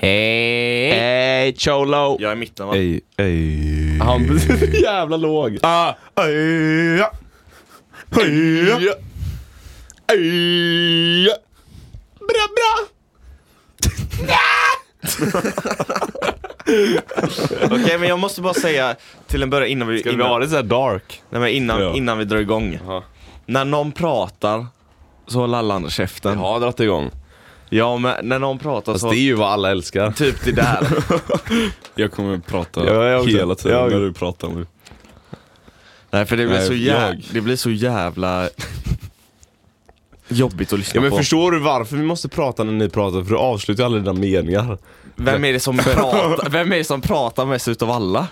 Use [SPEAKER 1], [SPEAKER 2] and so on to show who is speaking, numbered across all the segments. [SPEAKER 1] Hej!
[SPEAKER 2] Hej Cholo!
[SPEAKER 3] Jag är mitten va?
[SPEAKER 2] Ey, ey.
[SPEAKER 1] Han är så jävla låg.
[SPEAKER 2] Ah, ey, ja. Ey, ja. Ey, ja. Bra, bra!
[SPEAKER 3] Okej men jag måste bara säga till en början innan vi...
[SPEAKER 1] Ska vi
[SPEAKER 3] innan,
[SPEAKER 1] ha det såhär dark?
[SPEAKER 3] Nej men innan,
[SPEAKER 1] Ja.
[SPEAKER 3] innan vi drar igång. När någon pratar så håller alla andra käften. Ja.
[SPEAKER 1] har dragit igång.
[SPEAKER 3] men när någon pratar
[SPEAKER 1] Fast
[SPEAKER 3] så...
[SPEAKER 1] det är ju vad alla älskar.
[SPEAKER 3] Typ det där.
[SPEAKER 4] Jag kommer att prata
[SPEAKER 1] Ja, jag också.
[SPEAKER 4] hela tiden
[SPEAKER 1] Jag-
[SPEAKER 4] när du pratar nu.
[SPEAKER 3] Nej för det blir,
[SPEAKER 4] Nej,
[SPEAKER 3] så, jä...
[SPEAKER 4] jag.
[SPEAKER 3] det blir så jävla jobbigt att lyssna
[SPEAKER 1] Ja men
[SPEAKER 3] på.
[SPEAKER 1] förstår du varför vi måste prata när ni pratar? För du avslutar ju aldrig dina meningar.
[SPEAKER 3] Vem är det som pratar, vem är det som pratar mest utav alla?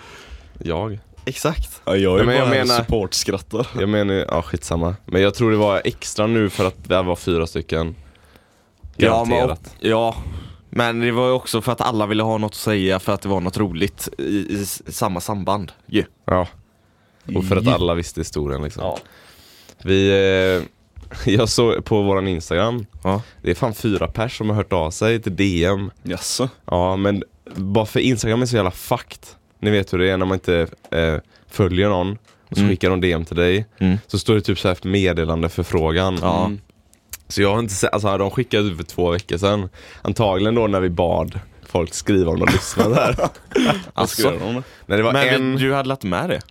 [SPEAKER 1] Jag?
[SPEAKER 3] Exakt.
[SPEAKER 4] Ja, jag
[SPEAKER 1] Ja,
[SPEAKER 4] är
[SPEAKER 1] men jag
[SPEAKER 4] bara en
[SPEAKER 1] menar-
[SPEAKER 4] supportskrattar.
[SPEAKER 1] Jag menar ju- ja skitsamma. Men jag tror det var extra nu för att det här var fyra stycken.
[SPEAKER 3] Ja, men,
[SPEAKER 1] Garanterat.
[SPEAKER 3] ja. Men det var ju också för att alla ville ha något att säga för att det var något roligt i, i s- samma samband ju.
[SPEAKER 1] Ja. Och för att alla visste historien liksom. Vi, eh, jag såg på våran Instagram,
[SPEAKER 3] Ja.
[SPEAKER 1] det är fan fyra pers som har hört av sig till DM.
[SPEAKER 4] Jaså?
[SPEAKER 1] Ja men bara för Instagram är så jävla fucked. Ni vet hur det är när man inte eh, följer någon och så
[SPEAKER 3] Mm.
[SPEAKER 1] skickar de DM till dig.
[SPEAKER 3] Mm.
[SPEAKER 1] Så står det typ så här meddelande förfrågan.
[SPEAKER 3] Ja.
[SPEAKER 1] Så jag har inte sett, alltså de skickade ut för två veckor sedan. Antagligen då när vi bad folk skriva om de lyssnade här.
[SPEAKER 3] Alltså,
[SPEAKER 4] Skrev de det?
[SPEAKER 1] När det var
[SPEAKER 3] men
[SPEAKER 1] en...
[SPEAKER 3] vi- du hade lagt med det?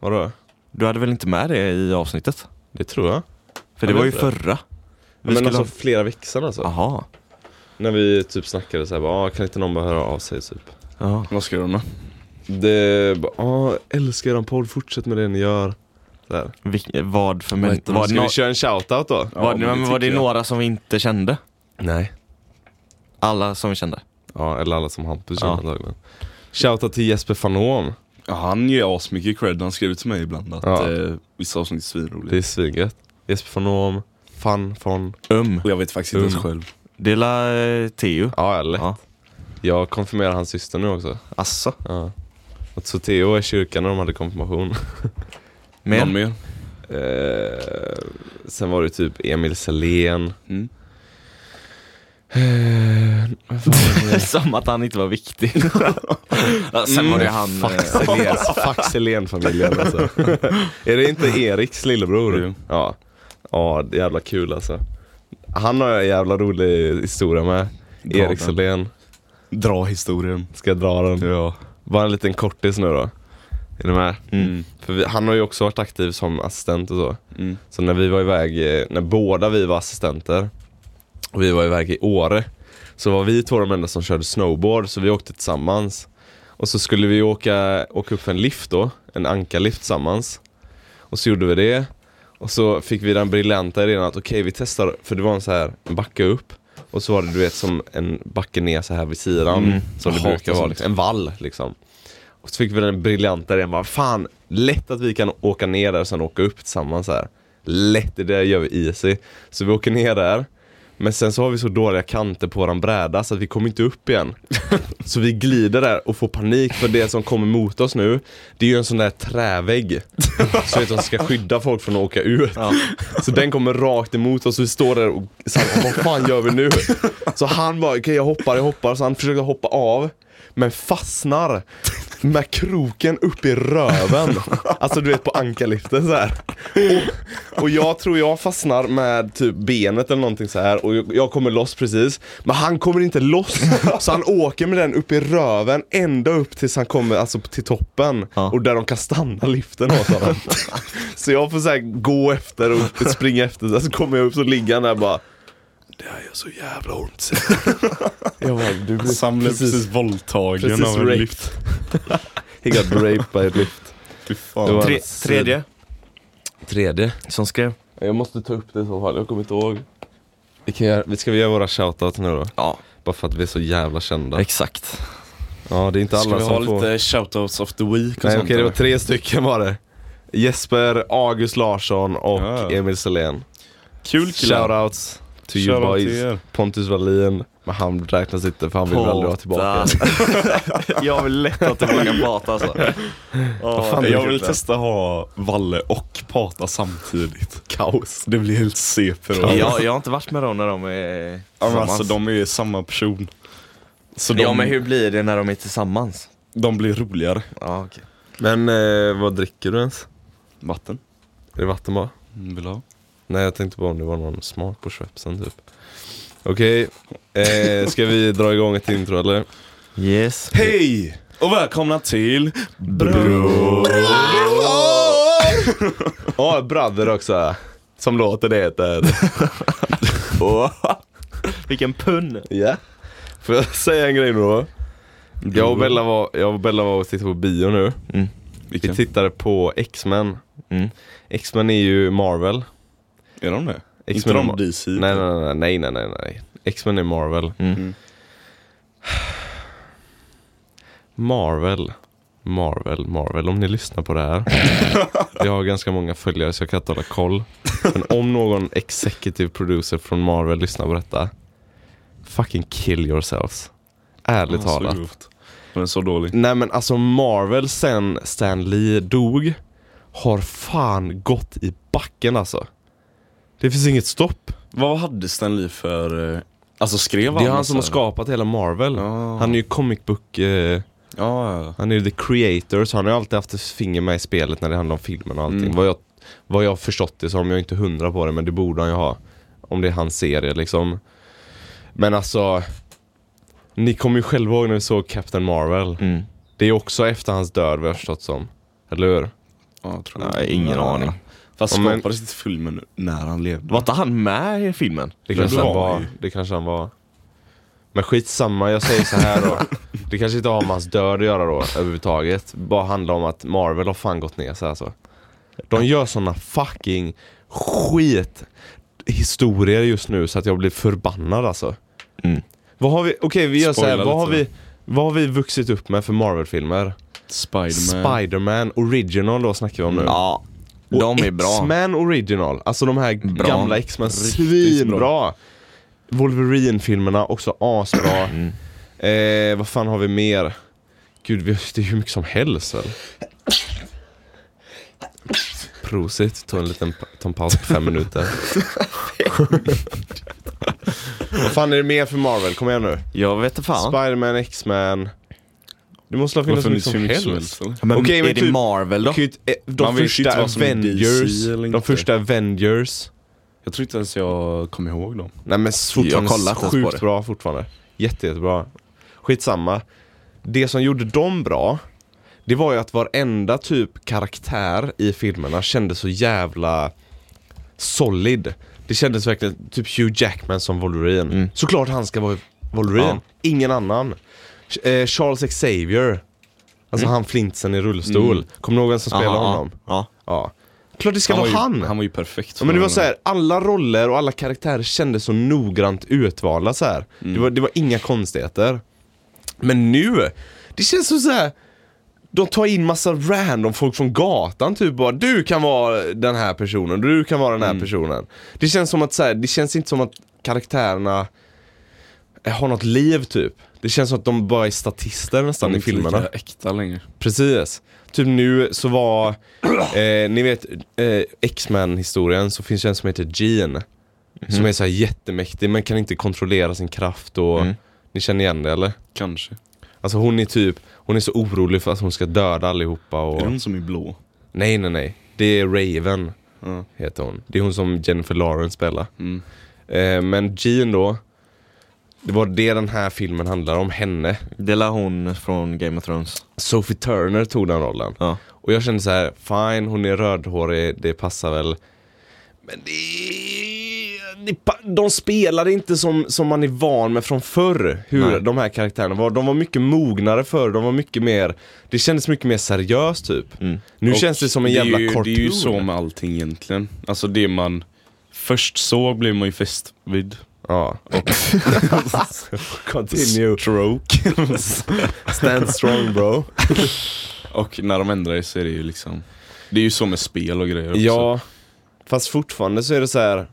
[SPEAKER 1] Vadå?
[SPEAKER 3] Du hade väl inte med det i avsnittet?
[SPEAKER 1] Det tror jag.
[SPEAKER 3] För det
[SPEAKER 1] Jag
[SPEAKER 3] var ju
[SPEAKER 1] vet inte.
[SPEAKER 3] förra. Vi
[SPEAKER 1] men
[SPEAKER 3] skulle
[SPEAKER 1] alltså
[SPEAKER 3] ha-
[SPEAKER 1] flera veckor sedan alltså.
[SPEAKER 3] Aha.
[SPEAKER 1] När vi typ snackade såhär, bara, "Ah, kan inte någon bara höra av sig typ?
[SPEAKER 3] Ja.
[SPEAKER 4] Vad skrev de då?
[SPEAKER 1] Det, bara, "Ah, älskar eran podd, fortsätt med det ni gör. Så här.
[SPEAKER 3] Vil- vad för men,
[SPEAKER 1] Var
[SPEAKER 3] var det,
[SPEAKER 1] Ska
[SPEAKER 3] no-
[SPEAKER 1] vi köra en shoutout då?
[SPEAKER 3] var, det,
[SPEAKER 4] men
[SPEAKER 3] men
[SPEAKER 4] det
[SPEAKER 3] var det
[SPEAKER 4] tycker jag.
[SPEAKER 3] några som vi inte kände?
[SPEAKER 1] Nej.
[SPEAKER 3] Alla som vi kände?
[SPEAKER 1] Ja, eller alla som Hampus känner
[SPEAKER 3] Ja.
[SPEAKER 1] antagligen. Shoutout till Jesper Fanom.
[SPEAKER 4] Ja, han ger asmycket cred. Han skriver till mig ibland att
[SPEAKER 1] Ja.
[SPEAKER 4] eh, vissa avsnitt
[SPEAKER 1] Det
[SPEAKER 4] är svinroliga.
[SPEAKER 1] är svingött. Jesper Fanom, Fan, Fon.
[SPEAKER 3] Um.
[SPEAKER 4] Och jag vet faktiskt inte ens
[SPEAKER 1] Mm.
[SPEAKER 4] själv.
[SPEAKER 3] Det är la, eh, Teo.
[SPEAKER 1] Ja, eller?
[SPEAKER 3] Ja.
[SPEAKER 1] Jag konfirmerar hans syster nu också.
[SPEAKER 3] Asså.
[SPEAKER 1] Ja. Och så Theo var i kyrkan när de hade konfirmation.
[SPEAKER 3] Men,
[SPEAKER 4] Någon mer?
[SPEAKER 1] Eh, sen var det typ Emil Selén.
[SPEAKER 4] Mm.
[SPEAKER 3] som att han inte var viktig. Ja, Sen var det han... eh,
[SPEAKER 1] Seléns, fuck Selén-familjen alltså. Är det inte Eriks lillebror?
[SPEAKER 4] Jo.
[SPEAKER 1] Ja. Ja, det är jävla kul alltså. Han har jag en jävla rolig historia med.
[SPEAKER 4] Dra
[SPEAKER 1] Erik
[SPEAKER 4] den.
[SPEAKER 1] Selén.
[SPEAKER 4] Dra historien.
[SPEAKER 1] Ska jag dra den?
[SPEAKER 4] Ja.
[SPEAKER 1] Bara en liten kortis nu då. Är ni med?
[SPEAKER 4] Mm.
[SPEAKER 1] För vi, han har ju också varit aktiv som assistent och så.
[SPEAKER 4] Mm.
[SPEAKER 1] Så när vi var iväg, eh, när båda vi var assistenter och vi var iväg i Åre så var vi två de enda som körde snowboard så vi åkte tillsammans. Och så skulle vi åka, åka upp för en lift då, en ankarlift tillsammans. Och så gjorde vi det. Och så fick vi den briljanta idén att okej vi testar, för det var en så här en backe upp och så var det du vet som en backe ner så här vid sidan som det
[SPEAKER 4] Jag hatar
[SPEAKER 1] brukar vara,
[SPEAKER 4] sånt.
[SPEAKER 1] liksom. en vall liksom. Och så fick vi den briljanta idén bara, fan, lätt att vi kan åka ner där och sen åka upp tillsammans här. Lätt, det där gör vi easy. Så vi åker ner där. Men sen så har vi så dåliga kanter på våran bräda så att vi kommer inte upp igen. Så vi glider där och får panik för det som kommer mot oss nu, det är ju en sån där trävägg. Så att de ska skydda folk från att åka ut. Så den kommer rakt emot oss och vi står där och så här, vad fan gör vi nu? Så han bara, okej jag hoppar, jag hoppar. Så han försöker hoppa av, men fastnar med kroken upp i röven. Alltså du vet på ankarliften så här. Och, och jag tror jag fastnar med typ benet eller någonting så här och jag- jag kommer loss precis. Men han kommer inte loss. Så han åker med den upp i röven ända upp tills han kommer alltså till toppen.
[SPEAKER 3] Ja.
[SPEAKER 1] Och där de kan stanna liften åt honom. Så jag får så här gå efter och springa efter. Sen så kommer jag upp så ligger han där bara.
[SPEAKER 4] Det gör så jävla ont.
[SPEAKER 1] Jag bara, du blir
[SPEAKER 4] Han blev precis,
[SPEAKER 1] precis,
[SPEAKER 4] våldtagen
[SPEAKER 1] Alltså, precis
[SPEAKER 4] av en
[SPEAKER 1] raped.
[SPEAKER 4] lift.
[SPEAKER 1] He got raped by a lift.
[SPEAKER 4] Fy
[SPEAKER 1] Det
[SPEAKER 4] fan.
[SPEAKER 1] var-
[SPEAKER 3] Tre,
[SPEAKER 1] Syd.
[SPEAKER 3] tredje
[SPEAKER 1] Tredje.
[SPEAKER 3] som skrev.
[SPEAKER 1] Jag måste ta upp det i så fall, jag kommer inte ihåg. Vi kan göra, vi ska vi göra våra shoutouts nu då?
[SPEAKER 3] Ja,
[SPEAKER 1] Bara för att vi är så jävla kända.
[SPEAKER 3] exakt.
[SPEAKER 1] Ja, det är inte
[SPEAKER 4] Ska
[SPEAKER 1] alla
[SPEAKER 4] vi
[SPEAKER 1] som
[SPEAKER 4] ha
[SPEAKER 1] får.
[SPEAKER 4] lite shoutouts of the week och
[SPEAKER 1] Nej okej,
[SPEAKER 4] sånt?
[SPEAKER 1] det var
[SPEAKER 4] eller?
[SPEAKER 1] tre stycken var det. Jesper, August Larsson och
[SPEAKER 4] Ja, ja.
[SPEAKER 1] Emil Selén.
[SPEAKER 4] Kul killar.
[SPEAKER 1] Shoutouts to you
[SPEAKER 4] Shoutout
[SPEAKER 1] boys.
[SPEAKER 4] till er.
[SPEAKER 1] Pontus Wallin, men han räknas inte för han vill väl aldrig vara tillbaka.
[SPEAKER 3] Jag vill lätt att tillbaka prata alltså.
[SPEAKER 4] Fan,
[SPEAKER 1] det är
[SPEAKER 4] jag
[SPEAKER 1] kul
[SPEAKER 4] vill
[SPEAKER 1] det.
[SPEAKER 4] testa ha Valle och Pata samtidigt.
[SPEAKER 1] Kaos.
[SPEAKER 4] Det blir helt CP då.
[SPEAKER 3] Jag, jag har inte varit med dem när de är
[SPEAKER 4] Ja, men
[SPEAKER 3] tillsammans.
[SPEAKER 4] alltså de är samma person.
[SPEAKER 1] Så
[SPEAKER 3] Ja
[SPEAKER 1] de,
[SPEAKER 3] men hur blir det när de är tillsammans?
[SPEAKER 4] De blir roligare.
[SPEAKER 3] Ja okej.
[SPEAKER 1] men eh, vad dricker du ens?
[SPEAKER 4] Vatten?
[SPEAKER 1] Är det vatten bara?
[SPEAKER 4] Mm, Vill du ha?
[SPEAKER 1] Nej jag tänkte bara om det var någon smak på Schwepsen typ Okej, eh, ska vi dra igång ett intro eller?
[SPEAKER 3] Yes.
[SPEAKER 4] Hej! Och välkomna till
[SPEAKER 1] Bror! Ja, brother också Som låten heter
[SPEAKER 3] Vilken punn.
[SPEAKER 1] Ja Får jag säga en grej nu då? Jag och Bella var, jag och Bella var och tittade på bio nu
[SPEAKER 3] Mm.
[SPEAKER 1] Vi tittade på X-Men
[SPEAKER 3] Mm.
[SPEAKER 1] X-Men är ju Marvel
[SPEAKER 4] Är de det? Inte
[SPEAKER 1] X-Men
[SPEAKER 4] de
[SPEAKER 1] och-
[SPEAKER 4] DC?
[SPEAKER 1] Nej nej nej, nej nej nej nej X-Men är Marvel
[SPEAKER 3] Mm.
[SPEAKER 1] Marvel, Marvel, Marvel. Om ni lyssnar på det här. Jag har ganska många följare så jag kan inte hålla koll. Men om någon executive producer från Marvel lyssnar på detta. Fucking kill yourselves. Ärligt
[SPEAKER 4] Ja, så
[SPEAKER 1] talat.
[SPEAKER 4] grovt. Den är så dålig.
[SPEAKER 1] Nej men alltså Marvel sen Stan Lee dog har fan gått i backen alltså. Det finns inget stopp.
[SPEAKER 4] Vad hade Stan Lee för... eh, Alltså skrev
[SPEAKER 1] Det är han som har
[SPEAKER 4] massa-
[SPEAKER 1] skapat hela Marvel.
[SPEAKER 4] Ja.
[SPEAKER 1] Han är ju comic book, eh,
[SPEAKER 4] Ja, ja.
[SPEAKER 1] han är ju the creator så han har ju alltid haft ett finger med i spelet när det handlar om filmen och allting.
[SPEAKER 4] Mm.
[SPEAKER 1] Vad, jag, vad jag har förstått det som, jag är inte hundra på det men det borde han ju ha. Om det är hans serie liksom. Men alltså, ni kommer ju själva ihåg när vi såg Captain Marvel.
[SPEAKER 3] Mm.
[SPEAKER 1] Det är också efter hans död vad jag har förstått som. Eller hur?
[SPEAKER 4] ja jag tror
[SPEAKER 3] Nej, ingen
[SPEAKER 4] Ja.
[SPEAKER 3] aning.
[SPEAKER 4] Fast
[SPEAKER 1] Ja, men-
[SPEAKER 4] skapades inte filmen när han levde?
[SPEAKER 3] Var inte han med i filmen?
[SPEAKER 1] Det
[SPEAKER 4] Men
[SPEAKER 1] kanske,
[SPEAKER 4] det
[SPEAKER 1] han
[SPEAKER 4] var
[SPEAKER 1] var,
[SPEAKER 4] ju.
[SPEAKER 1] det kanske han var. Men skitsamma, jag säger så här då. Det kanske inte har med hans död att göra då överhuvudtaget. Bara handlar om att Marvel har fan gått ner sig alltså. De gör såna fucking skithistorier just nu så att jag blir förbannad alltså.
[SPEAKER 3] Mm.
[SPEAKER 1] Vad har vi, okej vi gör så här,
[SPEAKER 4] Spoila
[SPEAKER 1] vad har
[SPEAKER 4] lite.
[SPEAKER 1] vi, vad har vi vuxit upp med för Marvel-filmer?
[SPEAKER 4] Spiderman.
[SPEAKER 1] Spider-Man original då snackar vi om nu.
[SPEAKER 3] Ja. De är bra.
[SPEAKER 1] X-Men original, alltså de här
[SPEAKER 3] Bra.
[SPEAKER 1] gamla X-Men,
[SPEAKER 4] Riktigt
[SPEAKER 1] svinbra! Wolverine-filmerna, också asbra.
[SPEAKER 3] Mm.
[SPEAKER 1] eh, vad fan har vi mer? Gud, vi har- det är hur mycket som helst väl? Prosit, ta en liten pa- ta en paus på fem minuter. vad fan är det mer för Marvel? Kom igen nu.
[SPEAKER 3] Jag vet inte fan.
[SPEAKER 1] Spiderman, X-Men. Det måste ha
[SPEAKER 4] Det har
[SPEAKER 1] funnits hur mycket
[SPEAKER 4] funnits hur
[SPEAKER 1] som
[SPEAKER 4] mycket
[SPEAKER 1] helst.
[SPEAKER 4] som helst. eller?
[SPEAKER 3] men
[SPEAKER 1] Okej,
[SPEAKER 3] är
[SPEAKER 1] men
[SPEAKER 3] det
[SPEAKER 1] typ-
[SPEAKER 3] Marvel då?
[SPEAKER 1] Kan ju inte- eh,
[SPEAKER 4] Man
[SPEAKER 1] De
[SPEAKER 4] vet ju inte
[SPEAKER 1] första
[SPEAKER 4] vad som är
[SPEAKER 1] Avengers,
[SPEAKER 4] DC eller
[SPEAKER 1] de
[SPEAKER 4] inte.
[SPEAKER 1] första Avengers
[SPEAKER 4] Jag tror inte ens jag kommer ihåg dem.
[SPEAKER 1] Nej men fortfarande
[SPEAKER 3] Jag har kollat ens på
[SPEAKER 1] sjukt
[SPEAKER 3] det.
[SPEAKER 1] bra fortfarande. Jätte, jättebra. Skitsamma. Det som gjorde dem bra, det var ju att varenda typ karaktär i filmerna kändes så jävla solid. Det kändes verkligen typ Hugh Jackman som Wolverine.
[SPEAKER 3] Mm.
[SPEAKER 1] Såklart han ska vara Wolverine,
[SPEAKER 3] Ja.
[SPEAKER 1] ingen annan. Ch- eh, Charles Xavier, alltså han flintsen i rullstol. Kommer du ihåg vem som spelade
[SPEAKER 3] Mm. Aha,
[SPEAKER 1] honom?
[SPEAKER 3] Ja.
[SPEAKER 1] Ja. Klart det ska
[SPEAKER 4] var
[SPEAKER 1] vara
[SPEAKER 4] ju,
[SPEAKER 1] han!
[SPEAKER 4] Han var ju perfekt.
[SPEAKER 1] Ja,
[SPEAKER 4] för
[SPEAKER 1] men det var
[SPEAKER 4] den.
[SPEAKER 1] så här, alla roller och alla karaktärer kändes så noggrant utvalda så här.
[SPEAKER 4] Mm.
[SPEAKER 1] Det, var, det var inga konstigheter. Men nu, det känns som så här. De tar in massa random folk från gatan typ bara du kan vara den här personen, du kan vara den
[SPEAKER 4] Mm.
[SPEAKER 1] här personen. Det känns som att så här, det känns inte som att karaktärerna har något liv typ. Det känns som att de bara är statister nästan
[SPEAKER 4] De är
[SPEAKER 1] i
[SPEAKER 4] Mm, inte
[SPEAKER 1] filmerna.
[SPEAKER 4] lika äkta längre.
[SPEAKER 1] Precis. Typ nu så var, eh, ni vet eh, X-Men historien så finns det en som heter Jean.
[SPEAKER 4] Mhm.
[SPEAKER 1] Som är så här jättemäktig men kan inte kontrollera sin kraft och
[SPEAKER 3] Mm.
[SPEAKER 1] ni känner igen det eller?
[SPEAKER 4] Kanske.
[SPEAKER 1] Alltså hon är typ, hon är så orolig för att hon ska döda allihopa och
[SPEAKER 4] Är det hon som är blå?
[SPEAKER 1] Nej nej nej, det är Raven
[SPEAKER 4] Ja.
[SPEAKER 1] heter hon. Det är hon som Jennifer Lawrence spelar.
[SPEAKER 4] Mm.
[SPEAKER 1] Eh, men Jean då, det var det den här filmen handlar om, henne.
[SPEAKER 3] Det lär hon från Game of Thrones.
[SPEAKER 1] Sophie Turner tog den rollen.
[SPEAKER 3] Ja.
[SPEAKER 1] Och jag kände så här, fine, hon är rödhårig, det passar väl. Men det, det pa- de spelade inte som, som man är van med från förr, hur
[SPEAKER 3] Nej.
[SPEAKER 1] de här karaktärerna var. De var mycket mognare förr, de var mycket mer, det kändes mycket mer seriöst typ.
[SPEAKER 3] Mm.
[SPEAKER 1] Nu
[SPEAKER 4] Och
[SPEAKER 1] känns det som en jävla
[SPEAKER 4] det är ju,
[SPEAKER 1] cartoon.
[SPEAKER 4] Det är ju så med allting egentligen. Alltså det man först såg blev man ju fäst vid.
[SPEAKER 1] Ja. Continue.
[SPEAKER 4] Stroke.
[SPEAKER 1] Stand strong bro.
[SPEAKER 4] och när de ändrar så är det ju liksom. Det är ju så med spel och grejer också.
[SPEAKER 1] Ja, fast fortfarande så är det så här.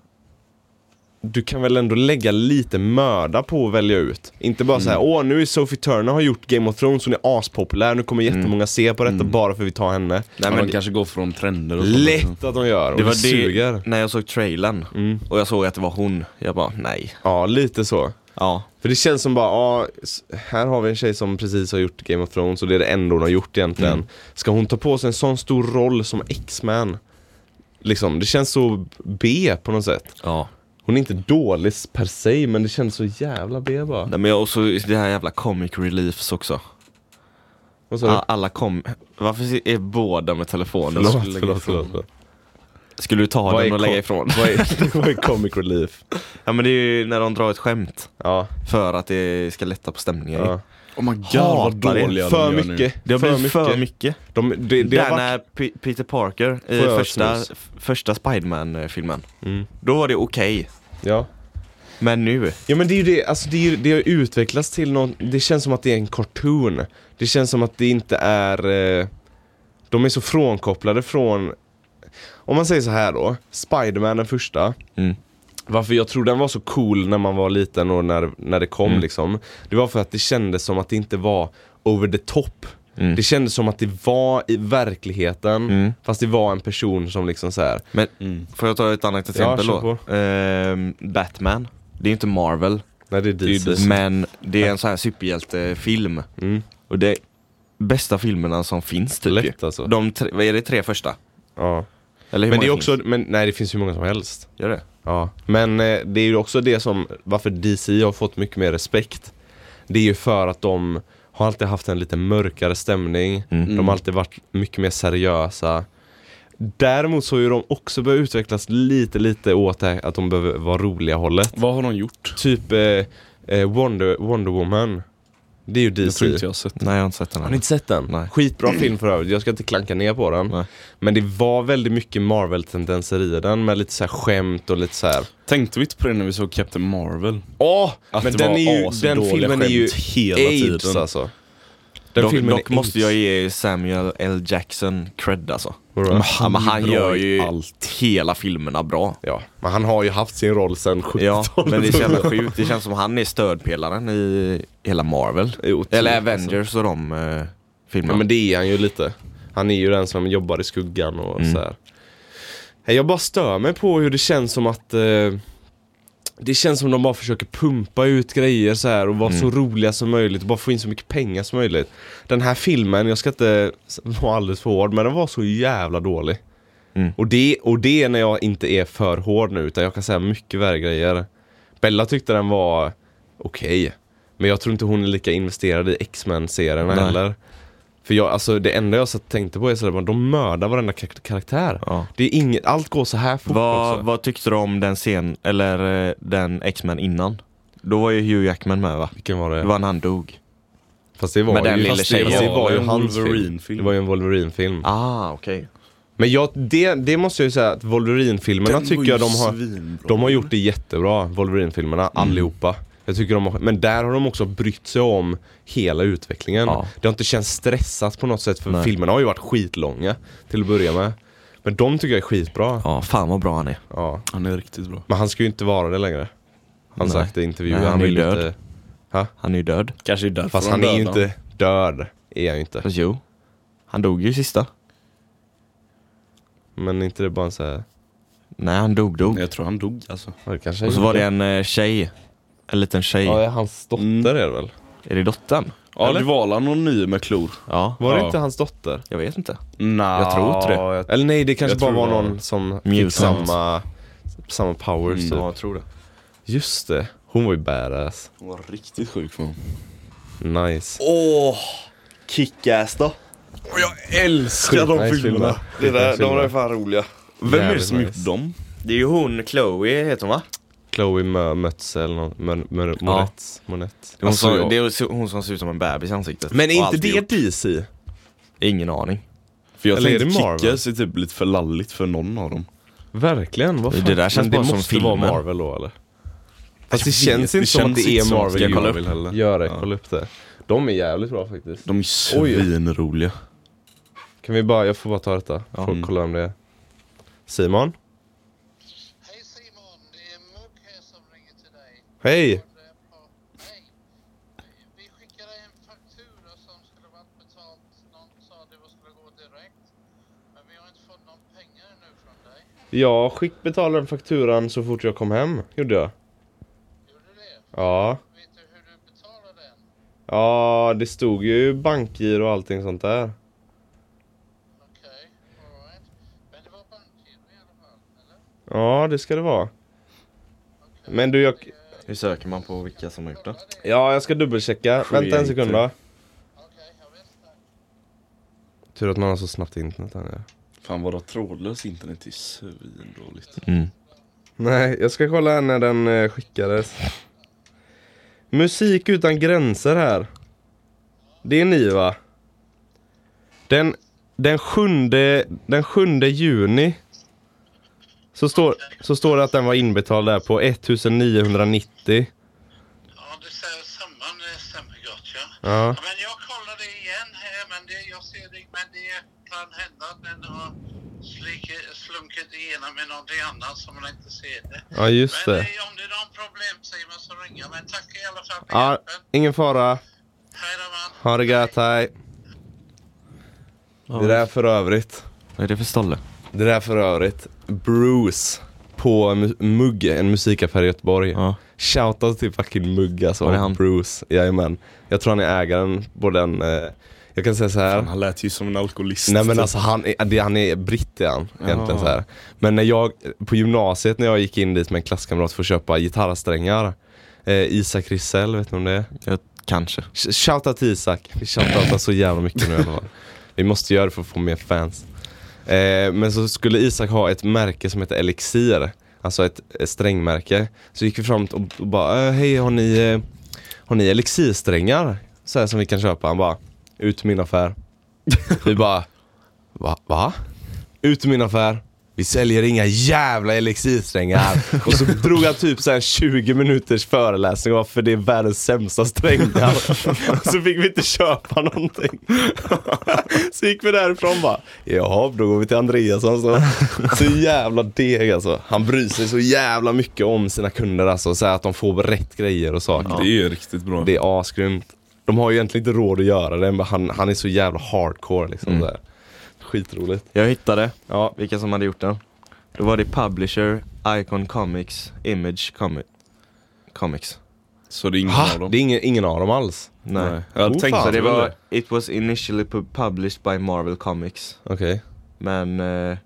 [SPEAKER 1] Du kan väl ändå lägga lite möda på att välja ut. Inte bara så här,
[SPEAKER 3] Mm.
[SPEAKER 1] åh nu är Sophie Turner har gjort Game of Thrones, hon är aspopulär, nu kommer jättemånga se på detta bara för vi tar henne.
[SPEAKER 3] Mm. Nej,
[SPEAKER 4] Nej, men
[SPEAKER 3] men
[SPEAKER 4] de
[SPEAKER 3] det,
[SPEAKER 4] kanske går från trender och sånt.
[SPEAKER 1] Lätt att de gör, och
[SPEAKER 3] det var det
[SPEAKER 1] suger.
[SPEAKER 3] när jag såg trailern
[SPEAKER 1] Mm.
[SPEAKER 3] och jag såg att det var hon. Jag bara nej.
[SPEAKER 1] Ja, lite så.
[SPEAKER 3] Ja.
[SPEAKER 1] För det känns som bara, ja, s- här har vi en tjej som precis har gjort Game of Thrones och det är det enda hon har gjort egentligen.
[SPEAKER 3] Mm.
[SPEAKER 1] Ska hon ta på sig en sån stor roll som X-Man? Liksom, det känns så B på något sätt.
[SPEAKER 3] ja.
[SPEAKER 1] Hon är inte dålig per se, men det känns så jävla B bara.
[SPEAKER 3] Nej, men jag, och så det här jävla comic reliefs också.
[SPEAKER 1] Vad sa du?
[SPEAKER 3] A- Alla kom... Varför är båda med telefonen?
[SPEAKER 1] Förlåt,
[SPEAKER 3] Skulle- liksom-
[SPEAKER 1] förlåt, förlåt. förlåt.
[SPEAKER 3] Skulle du ta
[SPEAKER 1] Vad
[SPEAKER 3] den
[SPEAKER 1] är
[SPEAKER 3] och lägga
[SPEAKER 1] co-
[SPEAKER 3] ifrån?
[SPEAKER 1] Vad är, vad är comic relief?
[SPEAKER 3] Ja men det är ju när de drar ett skämt.
[SPEAKER 1] Ja,
[SPEAKER 3] För att det ska lätta på stämningen.
[SPEAKER 1] ja.
[SPEAKER 4] Oh my god
[SPEAKER 3] Hatar
[SPEAKER 4] vad
[SPEAKER 3] det.
[SPEAKER 4] dåliga de
[SPEAKER 1] För
[SPEAKER 4] gör nu.
[SPEAKER 1] mycket.
[SPEAKER 3] Det har
[SPEAKER 1] för
[SPEAKER 3] blivit
[SPEAKER 1] mycket.
[SPEAKER 3] för mycket.
[SPEAKER 1] De, det, det
[SPEAKER 3] Där
[SPEAKER 1] har varit...
[SPEAKER 3] när P- Peter Parker i
[SPEAKER 1] Får jag
[SPEAKER 3] första,
[SPEAKER 1] snus?
[SPEAKER 3] f- första Spiderman-filmen.
[SPEAKER 1] Mm.
[SPEAKER 3] Då var det okej.
[SPEAKER 1] Ja.
[SPEAKER 3] Men nu.
[SPEAKER 1] Ja men det är ju det, alltså det, är, ju- det har utvecklats till någon, det känns som att det är en cartoon. Det känns som att det inte är, eh, de är så frånkopplade från, om man säger så här då, Spiderman den första.
[SPEAKER 3] Mm.
[SPEAKER 1] Varför jag tror den var så cool när man var liten och när, när det kom liksom. Det var för att det kändes som att det inte var over the top.
[SPEAKER 3] Mm.
[SPEAKER 1] Det kändes som att det var i verkligheten,
[SPEAKER 3] Mm.
[SPEAKER 1] fast det var en person som liksom så här.
[SPEAKER 3] Men
[SPEAKER 4] Mm.
[SPEAKER 3] får jag ta ett annat exempel
[SPEAKER 1] kör
[SPEAKER 3] då? Ehm, Batman. Det är ju inte Marvel.
[SPEAKER 1] Nej det är
[SPEAKER 4] är ju
[SPEAKER 1] DC.
[SPEAKER 3] Men det är en sån här superhjältefilm.
[SPEAKER 1] Mm.
[SPEAKER 3] Och det är bästa filmerna som finns typ. ju.
[SPEAKER 1] Lätt alltså.
[SPEAKER 3] De tre, vad är det tre första?
[SPEAKER 1] Ja.
[SPEAKER 3] Eller hur
[SPEAKER 1] Men det är
[SPEAKER 3] många
[SPEAKER 1] också, men, nej det finns hur många som helst.
[SPEAKER 3] finns? Gör det?
[SPEAKER 1] Ja, men eh, det är ju också det som, varför DC har fått mycket mer respekt. Det är ju för att de har alltid haft en lite mörkare stämning.
[SPEAKER 4] Mm.
[SPEAKER 1] De har alltid varit mycket mer seriösa. Däremot så har ju de också börjat utvecklas lite, lite åt det här att de behöver vara roliga hållet.
[SPEAKER 4] Vad har de gjort?
[SPEAKER 1] Typ eh, eh, Wonder, Wonder Woman. Det är ju DC.
[SPEAKER 4] Jag tror inte jag har sett
[SPEAKER 3] Nej jag har inte sett den
[SPEAKER 1] Har ni
[SPEAKER 3] än.
[SPEAKER 1] inte sett den?
[SPEAKER 3] Nej.
[SPEAKER 1] Skitbra film för övrigt, jag ska inte klanka ner på den.
[SPEAKER 3] Nej.
[SPEAKER 1] Men det var väldigt mycket Marvel-tendenser i den med lite så här skämt och lite så här.
[SPEAKER 4] Tänkte vi inte på det när vi såg Captain Marvel?
[SPEAKER 1] Åh!
[SPEAKER 4] Att
[SPEAKER 1] men
[SPEAKER 4] det
[SPEAKER 1] den,
[SPEAKER 4] var
[SPEAKER 1] är ju,
[SPEAKER 4] asdåliga
[SPEAKER 1] den filmen är ju
[SPEAKER 4] skämt hela
[SPEAKER 1] aids
[SPEAKER 4] tiden.
[SPEAKER 1] alltså. Den
[SPEAKER 3] dock
[SPEAKER 1] filmen
[SPEAKER 3] dock
[SPEAKER 1] är
[SPEAKER 3] måste jag
[SPEAKER 1] aids.
[SPEAKER 3] ge Samuel L. Jackson cred alltså.
[SPEAKER 1] Vadå?
[SPEAKER 3] Han, men han
[SPEAKER 4] är bra
[SPEAKER 3] gör
[SPEAKER 4] i
[SPEAKER 3] ju
[SPEAKER 4] allt.
[SPEAKER 3] hela filmerna bra.
[SPEAKER 1] Ja, men han har ju haft sin roll sen
[SPEAKER 3] Ja,
[SPEAKER 1] 70-talet.
[SPEAKER 3] men det är så jävla sjukt. Det känns som han är stödpelaren i hela Marvel. Eller Avengers och de eh, filmerna.
[SPEAKER 1] alltså. Ja men det är han ju lite. Han är ju den som jobbar i skuggan och
[SPEAKER 3] Mm.
[SPEAKER 1] så här. Nej, Jag bara stör mig på hur det känns som att eh, det känns som de bara försöker pumpa ut grejer så här och vara
[SPEAKER 3] Mm.
[SPEAKER 1] så roliga som möjligt och bara få in så mycket pengar som möjligt. Den här filmen, jag ska inte s- vara alldeles för hård, men den var så jävla dålig.
[SPEAKER 3] Mm.
[SPEAKER 1] Och, det, och det är när jag inte är för hård nu, utan jag kan säga mycket värre grejer. Bella tyckte den var okej, men jag tror inte hon är lika investerad i X-Men-serierna
[SPEAKER 3] Nej.
[SPEAKER 1] heller. För jag, alltså det enda jag så tänkte på är sådär, de mördar varenda kar- karaktär.
[SPEAKER 3] Ja.
[SPEAKER 1] Det är inget, allt går så här fort
[SPEAKER 3] vad,
[SPEAKER 1] också.
[SPEAKER 3] vad tyckte du om den scen, eller eh, den X-Men innan? Då var ju Hugh Jackman med va?
[SPEAKER 1] Vilken var
[SPEAKER 3] Det
[SPEAKER 1] det?
[SPEAKER 3] var när han dog.
[SPEAKER 1] Fast det var
[SPEAKER 3] Med den
[SPEAKER 1] ju,
[SPEAKER 3] lilla
[SPEAKER 1] fast det,
[SPEAKER 3] tjejen.
[SPEAKER 1] fast det
[SPEAKER 3] Ja,
[SPEAKER 1] var ju
[SPEAKER 4] en
[SPEAKER 1] hans film.
[SPEAKER 4] Wolverine-film.
[SPEAKER 1] Det var ju en Wolverine-film.
[SPEAKER 3] Ah, okej.
[SPEAKER 1] Men jag, det, det måste jag ju säga att Wolverine-filmerna tycker jag de har, de har gjort det jättebra, Wolverine-filmerna,
[SPEAKER 3] Mm.
[SPEAKER 1] allihopa. Jag tycker de har, men där har de också brytt sig om hela utvecklingen.
[SPEAKER 3] Ja.
[SPEAKER 1] Det har inte känts stressat på något sätt för
[SPEAKER 3] Nej.
[SPEAKER 1] filmerna har ju varit skitlånga till att börja med. Men de tycker jag är skitbra.
[SPEAKER 3] Ja, fan vad bra han är.
[SPEAKER 1] Ja.
[SPEAKER 4] Han är riktigt bra.
[SPEAKER 1] Men han ska ju inte vara det längre. Han
[SPEAKER 3] Nej.
[SPEAKER 1] sagt i intervjuer.
[SPEAKER 3] Nej, han
[SPEAKER 1] han
[SPEAKER 3] är
[SPEAKER 1] vill
[SPEAKER 3] död.
[SPEAKER 1] inte...
[SPEAKER 3] Han är ju död.
[SPEAKER 4] Kanske är därför
[SPEAKER 1] Fast
[SPEAKER 4] de
[SPEAKER 1] han är ju
[SPEAKER 4] dödade
[SPEAKER 1] inte död. Är han ju inte.
[SPEAKER 3] Fast jo. Han dog ju sista.
[SPEAKER 1] Men är inte det bara en så här...
[SPEAKER 3] Nej, han dog dog.
[SPEAKER 4] honom. Jag tror han dog alltså.
[SPEAKER 1] Ja, det kanske
[SPEAKER 3] Och så
[SPEAKER 1] är-
[SPEAKER 3] var det en eh, tjej. En liten tjej.
[SPEAKER 1] Ja, det är hans dotter
[SPEAKER 4] Mm.
[SPEAKER 1] är det väl?
[SPEAKER 3] Är det dottern?
[SPEAKER 4] Ja,
[SPEAKER 1] Eller? Alltså,
[SPEAKER 4] det var han någon ny med klor?
[SPEAKER 3] Ja.
[SPEAKER 1] Var det
[SPEAKER 4] Ja.
[SPEAKER 1] inte hans dotter?
[SPEAKER 3] Jag vet inte.
[SPEAKER 4] Nej.
[SPEAKER 3] Jag tror inte det.
[SPEAKER 1] Eller nej, det kanske
[SPEAKER 4] Jag
[SPEAKER 1] bara
[SPEAKER 4] tror
[SPEAKER 1] var
[SPEAKER 4] det var
[SPEAKER 1] någon som fick
[SPEAKER 3] Mutant.
[SPEAKER 1] samma, samma powers
[SPEAKER 4] Mm.
[SPEAKER 1] typ.
[SPEAKER 3] jag tror det.
[SPEAKER 1] Just det, hon var ju badass.
[SPEAKER 4] Hon var riktigt sjuk för honom.
[SPEAKER 1] Nice.
[SPEAKER 3] Åh! Kickass då.
[SPEAKER 4] Jag älskar
[SPEAKER 1] Skitnice filmer. Skitnice filmer.
[SPEAKER 3] fan roliga.
[SPEAKER 4] Vem är det
[SPEAKER 1] Jävligt
[SPEAKER 4] som gjort
[SPEAKER 1] nice.
[SPEAKER 4] dem?
[SPEAKER 3] Det är ju hon, Chloe heter hon va?
[SPEAKER 1] Chloe Mö- Mötz eller någon, Mö- Mö- Moretz. Moretz.
[SPEAKER 3] Det är,
[SPEAKER 4] Alltså,
[SPEAKER 3] hon som,
[SPEAKER 4] jag-
[SPEAKER 3] det är hon som ser ut som en bebis i ansiktet.
[SPEAKER 1] Men är
[SPEAKER 3] Och
[SPEAKER 1] inte
[SPEAKER 3] allt gjort.
[SPEAKER 1] det DC?
[SPEAKER 3] Ingen aning.
[SPEAKER 4] För jag
[SPEAKER 1] Eller är
[SPEAKER 4] tänkte
[SPEAKER 1] det Marvel?
[SPEAKER 4] Kickass är typ lite för lalligt för någon av dem.
[SPEAKER 1] Verkligen, vad
[SPEAKER 3] Det
[SPEAKER 1] fan?
[SPEAKER 3] där känns
[SPEAKER 1] Men det
[SPEAKER 3] bara som
[SPEAKER 1] måste vara
[SPEAKER 3] filmen.
[SPEAKER 1] Marvel då eller? Fast det
[SPEAKER 4] vet,
[SPEAKER 1] känns
[SPEAKER 4] det
[SPEAKER 1] inte som att
[SPEAKER 4] känns
[SPEAKER 1] det
[SPEAKER 4] inte
[SPEAKER 1] är
[SPEAKER 4] som att
[SPEAKER 1] Marvel.
[SPEAKER 4] det är
[SPEAKER 1] Gör
[SPEAKER 4] Marvel
[SPEAKER 1] det.
[SPEAKER 4] heller.
[SPEAKER 1] Gör det, kolla upp det. De är jävligt bra faktiskt.
[SPEAKER 4] De är ju
[SPEAKER 1] Oj.
[SPEAKER 4] svinroliga.
[SPEAKER 1] Kan vi bara, jag får bara ta detta. Får
[SPEAKER 4] Mm.
[SPEAKER 1] kolla om det är Simon?
[SPEAKER 5] Hej Simon, det är Mugg här som ringer till dig.
[SPEAKER 1] Hej!
[SPEAKER 5] Och det är på- Hej. Vi skickade en faktura som skulle varit betalt. Någon sa att det skulle gå direkt. Men vi har inte fått någon pengar ännu från dig.
[SPEAKER 1] Jag skick betalade fakturan så fort jag kom hem, gjorde jag.
[SPEAKER 5] Gjorde du det?
[SPEAKER 1] Ja.
[SPEAKER 5] Vet du hur du betalar den?
[SPEAKER 1] Ja, det stod ju bankgiro och allting sånt där.
[SPEAKER 5] Okej, alright. Men det var bankgiro i alla fall, eller?
[SPEAKER 1] Ja, det ska det vara. Men du, jag...
[SPEAKER 3] Hur söker man på vilka som har gjort det?
[SPEAKER 5] Kolla det.
[SPEAKER 1] Ja, jag ska dubbelchecka. Vänta en sekund då.
[SPEAKER 5] Okej, jag vet det.
[SPEAKER 1] Tur att man har så snabbt internet här nere.
[SPEAKER 4] Fan vadå trådlöst internet är svindåligt.
[SPEAKER 3] Mm.
[SPEAKER 1] Nej, jag ska kolla här när den eh, skickades. Musik utan gränser här. Det är ni va? Den, den, sjunde, den sjunde juni så står, så står det att den var inbetald där på 1990.
[SPEAKER 5] Ja, det säger samman, det stämmer gott ja.
[SPEAKER 1] Ja.
[SPEAKER 5] Ja, Men jag kollar det igen här, men det, jag ser det, men det kan hända att den har slick- slunkit igenom med någonting annat som man inte ser det.
[SPEAKER 1] Ja, just
[SPEAKER 5] men
[SPEAKER 1] det.
[SPEAKER 5] eh, om det är någon problem Simon så ringer jag. Men tack i alla fall för
[SPEAKER 1] Ja,
[SPEAKER 5] hjälpen.
[SPEAKER 1] ingen fara.
[SPEAKER 5] Hej då man.
[SPEAKER 1] Ha det gött, hej. Det där för övrigt.
[SPEAKER 3] Vad är det för stolle?
[SPEAKER 1] Det där för övrigt. Bruce på mu- Mugg, en musikaffär i Göteborg.
[SPEAKER 3] Ja.
[SPEAKER 1] Shoutout till fucking Mugg alltså.
[SPEAKER 3] Var det
[SPEAKER 1] och
[SPEAKER 3] han?
[SPEAKER 1] Bruce, jajamän. Jag tror han är ägaren på den. Eh, jag kan säga så här.
[SPEAKER 4] Han lät ju som en alkoholist.
[SPEAKER 1] Nej men alltså han är, det- han är britt är han egentligen
[SPEAKER 3] Ja.
[SPEAKER 1] så här. Men när jag, på gymnasiet när jag gick in dit med en klasskamrat för att köpa gitarrsträngar. Eh, Isak Rissell, vet ni om det är?
[SPEAKER 3] Jag, kanske.
[SPEAKER 1] Sh- Shoutout till Isak. Vi shoutoutar så jävla mycket nu i alla fall. Vi måste göra det för att få mer fans. Eh, men så skulle Isak ha ett märke som heter Elixir. Alltså ett, ett strängmärke. Så gick vi fram och, och bara, eh, hej har ni, eh, har ni elixirsträngar? Så här som vi kan köpa. Han bara, ut ur min affär. Vi bara, va? va? Ut ur min affär. Vi säljer inga jävla elixirsträngar. Och så drog han typ så här 20 minuters föreläsning om varför det är världens sämsta strängar. Och så fick vi inte köpa någonting. Så gick vi därifrån bara, jaha, då går vi till Andreasson. Så, så jävla deg alltså. Han bryr sig så jävla mycket om sina kunder alltså. Så här att de får rätt grejer och saker.
[SPEAKER 4] Det är ju riktigt bra.
[SPEAKER 1] Det är asgrymt. De har ju egentligen inte råd att göra det, men han, han är så jävla hardcore liksom. Mm. Skitroligt.
[SPEAKER 3] Jag hittade
[SPEAKER 1] Ja.
[SPEAKER 3] vilka som hade gjort den. Då var det Publisher, Icon Comics, Image Comi- Comics.
[SPEAKER 4] Så det är ingen av
[SPEAKER 1] Ha,
[SPEAKER 4] dem.
[SPEAKER 1] det är ingen, ingen av dem alls.
[SPEAKER 3] Nej.
[SPEAKER 4] Jag hade
[SPEAKER 1] Oh,
[SPEAKER 4] tänkt
[SPEAKER 1] fan.
[SPEAKER 3] Så
[SPEAKER 4] att
[SPEAKER 3] det
[SPEAKER 4] det
[SPEAKER 3] var,
[SPEAKER 4] var...
[SPEAKER 3] it was initially pub- published by Marvel Comics.
[SPEAKER 1] Okej.
[SPEAKER 3] Men, eh,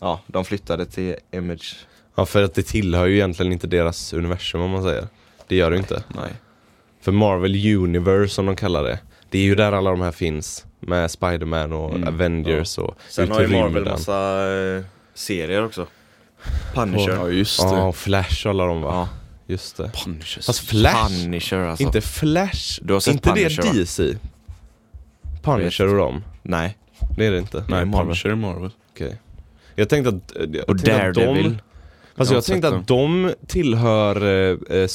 [SPEAKER 3] ja, de flyttade till Image.
[SPEAKER 1] Ja, för att det tillhör ju egentligen inte deras universum om man säger. Det gör det ju inte.
[SPEAKER 3] Nej.
[SPEAKER 1] För Marvel Universe som de kallar det. Det är ju där alla de här finns. Med Spider-Man och Avengers och
[SPEAKER 3] Mm. Sen
[SPEAKER 1] ut
[SPEAKER 3] har ju
[SPEAKER 1] i
[SPEAKER 3] Marvel
[SPEAKER 1] rymden.
[SPEAKER 3] massa eh, serier också. Punisher.
[SPEAKER 4] Ja just det.
[SPEAKER 1] Ja, och Flash och alla de va?
[SPEAKER 3] Ja.
[SPEAKER 1] Just det.
[SPEAKER 4] Punches.
[SPEAKER 1] Fast Flash?
[SPEAKER 3] Punisher alltså.
[SPEAKER 1] Inte Flash?
[SPEAKER 3] Du har sett
[SPEAKER 1] inte
[SPEAKER 3] Punisher, va?
[SPEAKER 1] det DC? Punisher och dem?
[SPEAKER 3] Nej.
[SPEAKER 1] Det är det inte.
[SPEAKER 4] Nej,
[SPEAKER 3] Marvel.
[SPEAKER 4] Punisher är Marvel.
[SPEAKER 1] Okej. Jag tänkte att... eh, Jag
[SPEAKER 3] Och
[SPEAKER 1] tänkte att de-
[SPEAKER 3] Daredevil.
[SPEAKER 1] Alltså
[SPEAKER 4] Jag har
[SPEAKER 1] jag tänkte
[SPEAKER 4] inte sett
[SPEAKER 1] att de tillhör eh, eh,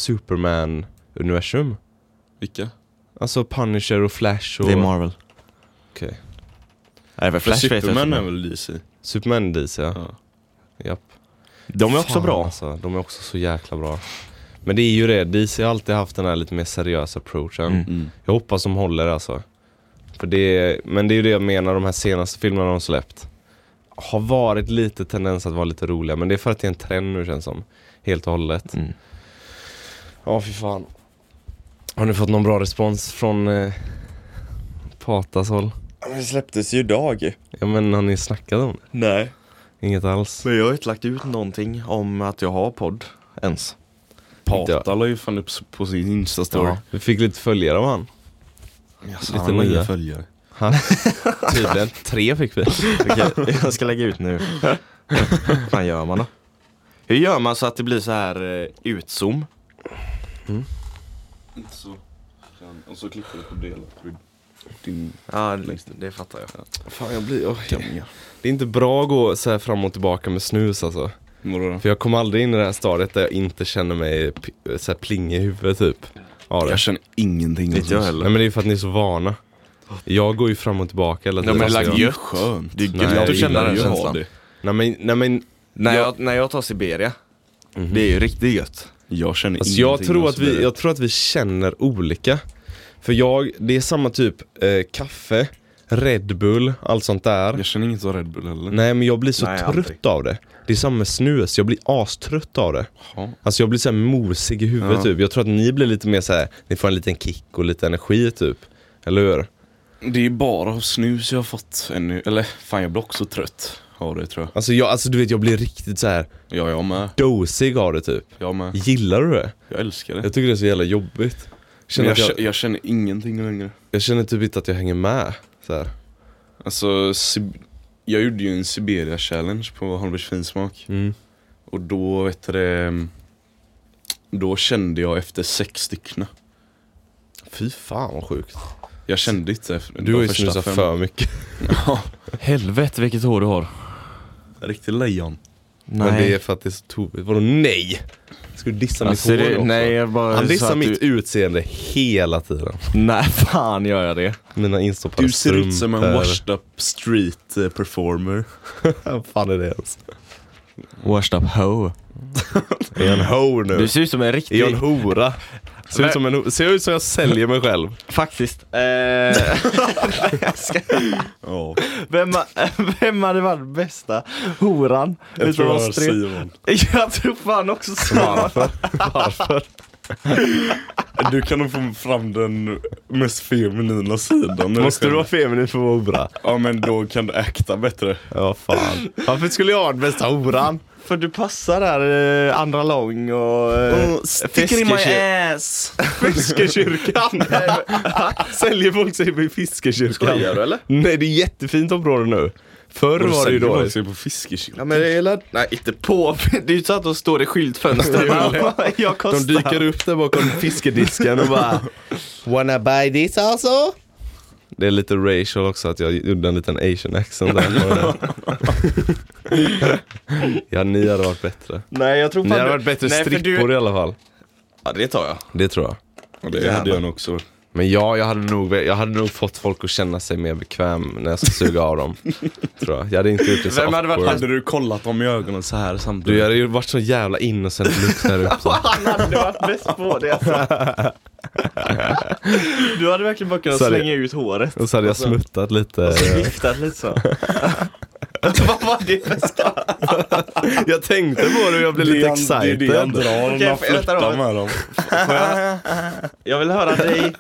[SPEAKER 1] Superman-universum.
[SPEAKER 4] Vilka?
[SPEAKER 1] Alltså Punisher och Flash och...
[SPEAKER 3] Det är Marvel.
[SPEAKER 1] Okej.
[SPEAKER 3] Nej, för
[SPEAKER 4] Flash
[SPEAKER 3] Flash vet jag
[SPEAKER 4] Superman
[SPEAKER 3] inte.
[SPEAKER 4] är väl DC?
[SPEAKER 1] Superman och DC ja.
[SPEAKER 4] Ja.
[SPEAKER 1] Japp.
[SPEAKER 3] De är också
[SPEAKER 1] Fan,
[SPEAKER 3] bra.
[SPEAKER 1] Alltså. De är också så jäkla bra. Men det är ju det, DC har alltid haft den här lite mer seriösa approachen.
[SPEAKER 3] Mm.
[SPEAKER 1] Jag hoppas de håller alltså. För det är, men det är ju det jag menar, de här senaste filmerna de släppt. Har varit lite tendens att vara lite roliga, men det är för att det är en trend nu känns som. Helt och hållet.
[SPEAKER 3] Mm.
[SPEAKER 1] Ja, fy fan. Har ni fått någon bra respons från eh, Patas håll?
[SPEAKER 3] Det släpptes ju idag.
[SPEAKER 1] Ja men har ni snackat om det?
[SPEAKER 3] Nej.
[SPEAKER 1] Inget alls?
[SPEAKER 3] Men jag har inte lagt ut någonting om att jag har podd ens.
[SPEAKER 4] Pata la ju fan upp s- på sin Insta-story.
[SPEAKER 1] Ja, vi fick lite följare av han.
[SPEAKER 4] Jaså,
[SPEAKER 1] Lite
[SPEAKER 4] han har
[SPEAKER 1] nya.
[SPEAKER 4] inga följare.
[SPEAKER 1] han tydligen. Tre fick vi.
[SPEAKER 3] Okej, jag ska lägga ut nu. Vad fan gör man då? Hur gör man så att det blir så här eh, utzoom?
[SPEAKER 4] Så. Och så klickar du på dela. Din
[SPEAKER 3] Ja, det, det fattar jag.
[SPEAKER 1] Fan jag blir...
[SPEAKER 4] gamla.
[SPEAKER 1] Det är inte bra att gå så här fram och tillbaka med snus alltså.
[SPEAKER 4] Vadå då?
[SPEAKER 1] För jag kommer aldrig in i det här stadiet där jag inte känner mig p- så här pling i huvudet typ. Ja, det.
[SPEAKER 4] Jag känner ingenting.
[SPEAKER 3] Inte jag heller.
[SPEAKER 1] Nej men det är ju för att ni är så vana. Jag går ju fram och tillbaka hela Alltså,
[SPEAKER 3] men det är
[SPEAKER 1] jag-
[SPEAKER 3] lagt-
[SPEAKER 4] Gött. Skönt.
[SPEAKER 3] Det är
[SPEAKER 1] Nej,
[SPEAKER 3] gött att
[SPEAKER 1] jag
[SPEAKER 3] känna
[SPEAKER 1] gillar
[SPEAKER 3] den
[SPEAKER 1] ju att ha
[SPEAKER 3] känslan.
[SPEAKER 4] det.
[SPEAKER 1] Nej men, nej men
[SPEAKER 3] När jag, när jag tar Siberia, det är ju riktigt gött.
[SPEAKER 4] Jag känner
[SPEAKER 1] Alltså
[SPEAKER 4] ingenting.
[SPEAKER 1] jag, tror
[SPEAKER 4] men
[SPEAKER 1] att
[SPEAKER 4] så
[SPEAKER 1] vi,
[SPEAKER 4] blir det.
[SPEAKER 1] jag tror att vi känner olika. För jag, det är samma typ eh, kaffe, Red Bull, allt sånt där.
[SPEAKER 4] Jag känner inget som Red Bull heller.
[SPEAKER 1] Nej men jag blir så
[SPEAKER 3] Nej,
[SPEAKER 1] trött
[SPEAKER 3] aldrig.
[SPEAKER 1] av det. Det är samma med snus, jag blir astrött av det.
[SPEAKER 4] Jaha.
[SPEAKER 1] Alltså jag blir så här mosig i huvudet
[SPEAKER 4] Ja.
[SPEAKER 1] typ. Jag tror att ni blir lite mer så här, ni får en liten kick och lite energi typ. Eller hur?
[SPEAKER 4] Det är bara av snus jag har fått ännu. Eller fan jag blir också trött av det tror jag.
[SPEAKER 1] Alltså, jag, alltså du vet jag blir riktigt så här
[SPEAKER 4] Ja, jag med.
[SPEAKER 1] dosig av det typ.
[SPEAKER 4] Jag med.
[SPEAKER 1] Gillar du det?
[SPEAKER 4] Jag älskar det.
[SPEAKER 1] Jag tycker det är så jävla jobbigt. Jag
[SPEAKER 4] Men
[SPEAKER 1] känner,
[SPEAKER 4] jag,
[SPEAKER 1] att
[SPEAKER 4] jag,
[SPEAKER 1] jag,
[SPEAKER 4] jag känner ingenting längre.
[SPEAKER 1] jag känner typ inte att jag hänger med. Så här.
[SPEAKER 4] Alltså, Sib- jag gjorde ju en Siberia challenge på Holmbergs finsmak.
[SPEAKER 1] Mm.
[SPEAKER 4] Och då, vet du det, mm, då kände jag efter sex stycken.
[SPEAKER 1] Fy fan vad sjukt.
[SPEAKER 4] Jag kände inte efter
[SPEAKER 1] Du
[SPEAKER 4] de
[SPEAKER 1] har ju
[SPEAKER 4] första
[SPEAKER 1] snusat
[SPEAKER 4] fem.
[SPEAKER 1] för mycket.
[SPEAKER 3] Helvete vilket hår du har.
[SPEAKER 4] Riktigt lejon.
[SPEAKER 3] Nej.
[SPEAKER 1] Men det är för att det är så tokigt. Vadå nej? Ska du dissa
[SPEAKER 3] Alltså,
[SPEAKER 1] mitt hår
[SPEAKER 3] det,
[SPEAKER 1] också?
[SPEAKER 3] nej, jag bara
[SPEAKER 1] Han
[SPEAKER 3] så
[SPEAKER 1] dissar
[SPEAKER 3] att
[SPEAKER 1] mitt
[SPEAKER 3] Du,
[SPEAKER 1] utseende hela tiden.
[SPEAKER 3] nej, fan gör jag det?
[SPEAKER 1] Mina instoppade
[SPEAKER 4] Du ser ut som en
[SPEAKER 1] strumpor.
[SPEAKER 4] washed up street eh, performer.
[SPEAKER 1] Vad fan är det ens?
[SPEAKER 3] Washed up hoe.
[SPEAKER 1] Är jag en ho nu?
[SPEAKER 3] Mm. Du ser ut som en
[SPEAKER 1] Är jag
[SPEAKER 3] riktig...
[SPEAKER 1] en hora? Ser ut som en ho- ser ut som jag säljer mig själv.
[SPEAKER 3] Faktiskt. Eh,
[SPEAKER 4] Ja,
[SPEAKER 3] vem, vem hade varit bästa horan? utav oss tre?
[SPEAKER 4] Simon.
[SPEAKER 3] Jag tror fan också Simon.
[SPEAKER 1] Varför?
[SPEAKER 4] Du kan nog få fram den mest feminina sidan.
[SPEAKER 1] Måste du vara feminin för att vara hora?
[SPEAKER 4] Ja men då kan du äkta bättre.
[SPEAKER 1] Ja, fan. Varför skulle jag ha den bästa horan?
[SPEAKER 3] För du passar där eh, andra lång och...
[SPEAKER 1] Mm.
[SPEAKER 3] Eh,
[SPEAKER 4] Sticker in my ass!
[SPEAKER 1] Fiskekyrkan! Säljer folk sig i fiskekyrkan?
[SPEAKER 4] Skojar du, eller?
[SPEAKER 1] Nej, det är jättefint område nu. Förr var det ju
[SPEAKER 4] då.
[SPEAKER 1] dåligt.
[SPEAKER 4] Sig på fiskekyrkan.
[SPEAKER 1] men det är
[SPEAKER 3] nej, inte på. Det är ju så att de står i skyltfönstren. jag kostar.
[SPEAKER 1] De dyker upp där bakom fiskedisken och bara Wanna buy this also? Det är lite racial också att jag gjorde en liten asian accent där. ja, ni hade varit bättre.
[SPEAKER 3] Nej, jag tror
[SPEAKER 1] Ni
[SPEAKER 3] fan
[SPEAKER 1] hade
[SPEAKER 3] du-
[SPEAKER 1] varit bättre
[SPEAKER 3] Nej, för
[SPEAKER 1] strippor i alla fall.
[SPEAKER 3] Ja, det tar jag.
[SPEAKER 1] Det tror jag.
[SPEAKER 4] Ja, det hade jag nog också.
[SPEAKER 1] Men ja, jag hade, nog, jag hade nog fått folk att känna sig mer bekväm när jag ska suga av dem. tror jag. jag hade inte gjort det så
[SPEAKER 3] Vem hade varit
[SPEAKER 1] awkward.
[SPEAKER 4] Hade du kollat dem i ögonen så här
[SPEAKER 1] Du,
[SPEAKER 4] samtidigt?
[SPEAKER 1] jag hade ju varit så jävla innocent look där uppe. så.
[SPEAKER 3] Han hade varit bäst på det alltså. Du hade verkligen bara kunnat
[SPEAKER 1] Så hade-
[SPEAKER 3] slänga ut håret.
[SPEAKER 1] Och så hade jag smuttat lite.
[SPEAKER 3] Viftat lite så. Vad var det för skatt?
[SPEAKER 1] Jag tänkte på det och jag blev lite excited.
[SPEAKER 4] Det är det han drar när
[SPEAKER 3] Okej,
[SPEAKER 4] man
[SPEAKER 3] för- vänta
[SPEAKER 4] flörtar
[SPEAKER 3] då.
[SPEAKER 4] med dem.
[SPEAKER 3] Jag vill höra dig,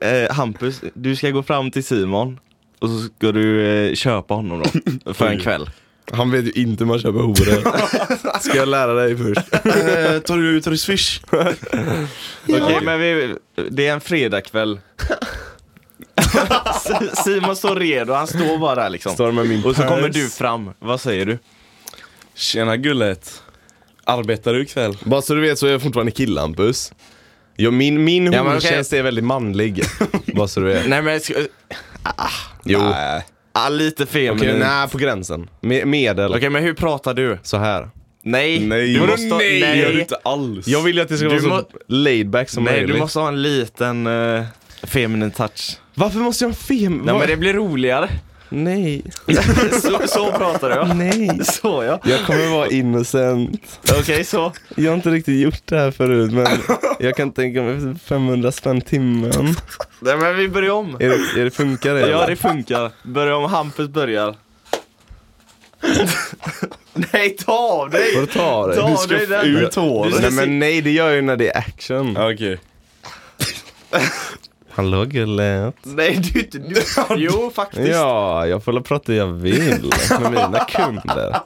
[SPEAKER 3] eh, Hampus, du ska gå fram till Simon och så ska du eh, köpa honom då, för en kväll.
[SPEAKER 1] Han vet ju inte hur man köper horor. Ska jag lära dig först?
[SPEAKER 4] Eh, tar du ut swish?
[SPEAKER 3] Okej, men vi, det är en fredagkväll. S- Simon står redo, han står bara där liksom.
[SPEAKER 1] Står med min
[SPEAKER 3] Och så kommer
[SPEAKER 1] pers.
[SPEAKER 3] du fram, vad säger du?
[SPEAKER 4] Tjena gullet. Arbetar du ikväll?
[SPEAKER 1] Bara så du vet så är jag fortfarande killampus. Ja, min min
[SPEAKER 3] Ja, men
[SPEAKER 1] hortjänst är väldigt manlig. Bara så du vet.
[SPEAKER 3] Nej men, sk-
[SPEAKER 1] Jo. Okej,
[SPEAKER 4] Nej.
[SPEAKER 3] ah, lite feminin. Okej,
[SPEAKER 1] nej på gränsen. Me medel.
[SPEAKER 3] men hur pratar du?
[SPEAKER 1] Så här.
[SPEAKER 3] Nej!
[SPEAKER 4] Nej.
[SPEAKER 3] Du måste,
[SPEAKER 4] nej. Det gör du
[SPEAKER 3] nej.
[SPEAKER 4] inte alls.
[SPEAKER 1] Jag vill ju att det ska
[SPEAKER 3] Du
[SPEAKER 1] vara så laid back som
[SPEAKER 3] nej,
[SPEAKER 1] möjligt.
[SPEAKER 3] du måste ha en liten uh, feminin touch.
[SPEAKER 1] Varför måste jag ha fem?
[SPEAKER 3] Nej
[SPEAKER 1] Vad-
[SPEAKER 3] men det blir roligare.
[SPEAKER 1] Nej.
[SPEAKER 3] så, så pratar jag.
[SPEAKER 1] Nej.
[SPEAKER 3] Så ja.
[SPEAKER 1] Jag kommer vara innocent.
[SPEAKER 3] Okej så.
[SPEAKER 1] Jag har inte riktigt gjort det här förut men jag kan tänka mig 500 spänn timmen.
[SPEAKER 3] Nej men vi börjar om.
[SPEAKER 1] Är det, är det funkar det?
[SPEAKER 3] Ja
[SPEAKER 1] eller?
[SPEAKER 3] det funkar. Börja om, Hampus börjar. nej ta av dig!
[SPEAKER 1] Får du ta av dig?
[SPEAKER 3] Ta
[SPEAKER 1] Du
[SPEAKER 3] av
[SPEAKER 1] ska
[SPEAKER 3] dig den.
[SPEAKER 4] ut håret.
[SPEAKER 3] Du ska
[SPEAKER 1] Nej
[SPEAKER 3] se-
[SPEAKER 1] men nej det gör jag ju när det är action.
[SPEAKER 4] Ja, Okej.
[SPEAKER 1] Hallå gullet.
[SPEAKER 3] Nej du är inte du. Jo faktiskt.
[SPEAKER 1] Ja, jag får väl prata jag vill med mina kunder.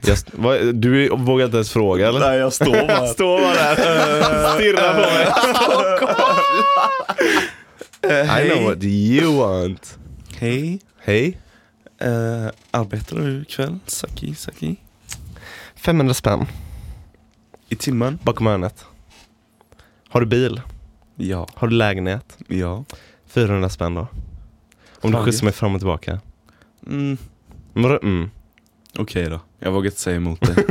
[SPEAKER 1] Jag, st- vad, du vågar inte ens fråga eller?
[SPEAKER 4] Nej jag står bara. Eh,
[SPEAKER 1] Står bara där, stirrar på mig. I know what you want.
[SPEAKER 4] Eh, Hej.
[SPEAKER 1] Hej.
[SPEAKER 4] Eh, arbetar du ikväll? Saki, Saki?
[SPEAKER 1] 500 spänn
[SPEAKER 4] I timmen?
[SPEAKER 1] bakom hörnet. Har du bil?
[SPEAKER 4] Ja.
[SPEAKER 1] Har du lägenhet?
[SPEAKER 4] Ja.
[SPEAKER 1] 400 spänn då. Om du
[SPEAKER 4] Fan,
[SPEAKER 1] skjutsar mig fram och tillbaka.
[SPEAKER 4] Mm.
[SPEAKER 1] Vadå, Mm.
[SPEAKER 4] Okej då. Jag vågar inte säga emot dig.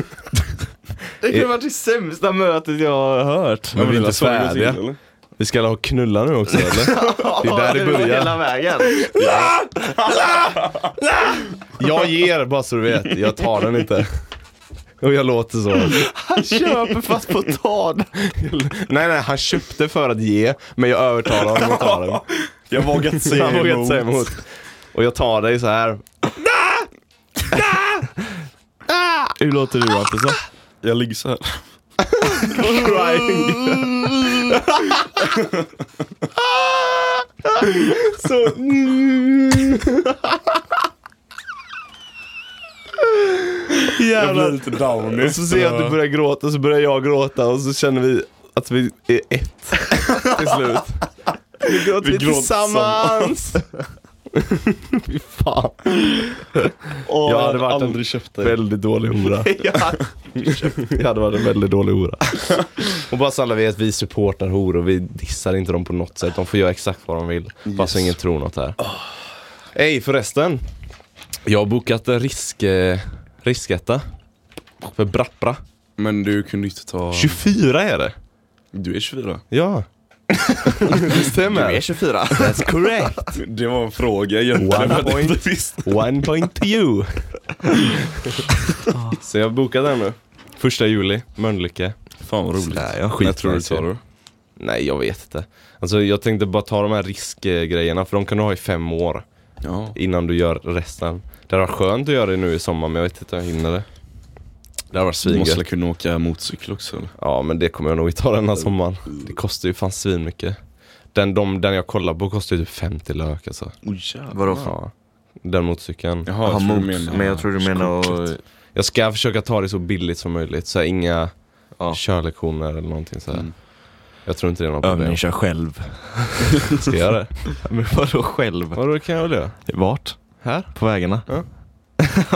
[SPEAKER 3] Det kunde varit det sämsta mötet jag har hört.
[SPEAKER 1] Men vi är inte färdiga. Vi ska alla ha knulla nu också eller? Det är där det
[SPEAKER 3] var
[SPEAKER 1] börjar.
[SPEAKER 3] Hela vägen.
[SPEAKER 1] Jag ger bara så du vet, jag tar den inte. Och jag låter så.
[SPEAKER 3] Han köper fast på tal.
[SPEAKER 1] Nej nej, han köpte för att ge, men jag övertalar honom att ta den.
[SPEAKER 4] Jag vågar inte säga
[SPEAKER 1] Han vågar inte säga emot. Och jag tar dig så här.
[SPEAKER 4] Hur låter du Hampus? Jag ligger så här.
[SPEAKER 1] Crying.
[SPEAKER 4] Jag blir lite downy.
[SPEAKER 1] Så ser jag att du börjar gråta, så börjar jag gråta och så känner vi att vi är ett till slut. Vi gråter
[SPEAKER 4] Vi gråter
[SPEAKER 1] tillsammans. Fy fan. Jag
[SPEAKER 4] Åh, jag
[SPEAKER 1] hade
[SPEAKER 4] hade
[SPEAKER 1] varit en
[SPEAKER 4] aldrig köpt dig.
[SPEAKER 1] Väldigt dålig hora. Jag hade varit en väldigt dålig hora. Och bara så alla vet, vi supportar horor. Vi dissar inte dem på något sätt. De får göra exakt vad de vill. Bara så
[SPEAKER 4] Yes.
[SPEAKER 1] ingen tror något här. Ey, förresten. Jag har bokat en risk, eh, risketta. För Brappra.
[SPEAKER 4] Men du kunde inte ta...
[SPEAKER 1] 24 är det.
[SPEAKER 4] Du är 24.
[SPEAKER 1] Ja. det stämmer.
[SPEAKER 3] Du är 24.
[SPEAKER 1] That's correct.
[SPEAKER 4] Det var en fråga egentligen.
[SPEAKER 1] One
[SPEAKER 4] men det
[SPEAKER 1] point.
[SPEAKER 4] visste.
[SPEAKER 1] One point to you. så jag har bokat den nu. Första juli, Mölnlycke.
[SPEAKER 4] Fan vad roligt.
[SPEAKER 1] Sådär, ja.
[SPEAKER 4] jag tror du
[SPEAKER 1] Skitnice
[SPEAKER 4] tar det.
[SPEAKER 1] Nej, jag vet inte. Alltså jag tänkte bara ta de här riskgrejerna för de kan du ha i fem år
[SPEAKER 4] Ja.
[SPEAKER 1] innan du gör resten. Det var skönt att göra det nu i sommar men jag vet inte om jag hinner det. Det här var
[SPEAKER 4] Du måste väl
[SPEAKER 1] svingött.
[SPEAKER 4] kunna åka motorcykel också eller?
[SPEAKER 1] Ja men det kommer jag nog inte ta den här sommaren. Det kostar ju fan svinmycket. Den, de, den jag kollar på kostar ju typ 50 lök alltså.
[SPEAKER 4] Oh, jävlar.
[SPEAKER 3] Vadå?
[SPEAKER 1] Ja. Den motorcykeln.
[SPEAKER 4] Jaha, jag
[SPEAKER 3] Aha,
[SPEAKER 4] tror du
[SPEAKER 3] mot,
[SPEAKER 4] menar...
[SPEAKER 3] men jag tror du menar att...
[SPEAKER 1] Jag ska försöka ta det så billigt som möjligt. Så här, inga
[SPEAKER 3] Ja.
[SPEAKER 1] körlektioner eller någonting så här.
[SPEAKER 4] Mm.
[SPEAKER 1] Jag tror inte det är något problem.
[SPEAKER 3] kör själv.
[SPEAKER 1] Ska jag göra det?
[SPEAKER 3] Men vadå själv?
[SPEAKER 1] Vadå, det kan jag väl göra?
[SPEAKER 3] Vart?
[SPEAKER 1] Här?
[SPEAKER 3] På vägarna?
[SPEAKER 1] Ja.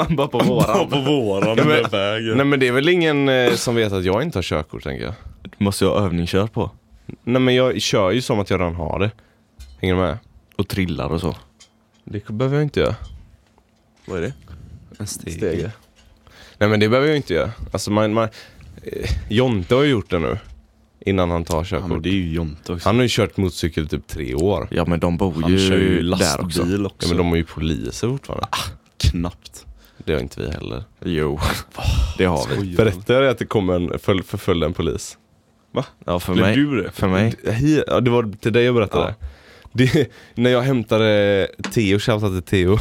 [SPEAKER 3] Bara på våran.
[SPEAKER 4] på våran
[SPEAKER 1] Ja, men-
[SPEAKER 4] den vägen.
[SPEAKER 1] Nej men det är väl ingen eh, som vet att jag inte har körkort tänker jag.
[SPEAKER 3] Måste jag ha övningskör på?
[SPEAKER 1] Nej men jag kör ju som att jag redan har det. Hänger du med?
[SPEAKER 3] Och trillar och så.
[SPEAKER 1] Det behöver jag inte göra.
[SPEAKER 3] Vad är det? En
[SPEAKER 1] Stege. Nej men det behöver jag inte göra. Alltså man, man, eh, Jonte har ju gjort det nu. Innan han tar
[SPEAKER 4] Ja, men
[SPEAKER 1] körkort.
[SPEAKER 4] det är ju Jonte också.
[SPEAKER 1] Han har ju kört motorcykel i typ tre år.
[SPEAKER 3] Ja men de bor
[SPEAKER 4] Han
[SPEAKER 3] ju,
[SPEAKER 4] kör ju
[SPEAKER 3] där också.
[SPEAKER 4] lastbil också.
[SPEAKER 1] Ja, men de är ju poliser fortfarande.
[SPEAKER 4] Knappt.
[SPEAKER 1] Det har inte vi heller.
[SPEAKER 3] Jo, det har vi.
[SPEAKER 1] Berättade jag dig att det kom en, föl- förföljde en polis?
[SPEAKER 3] Ja, för
[SPEAKER 4] Blev
[SPEAKER 3] mig.
[SPEAKER 4] du det?
[SPEAKER 3] För mig.
[SPEAKER 1] He- Ja, det var till dig jag berättade. Det, när jag hämtade Theo, shoutout till Theo.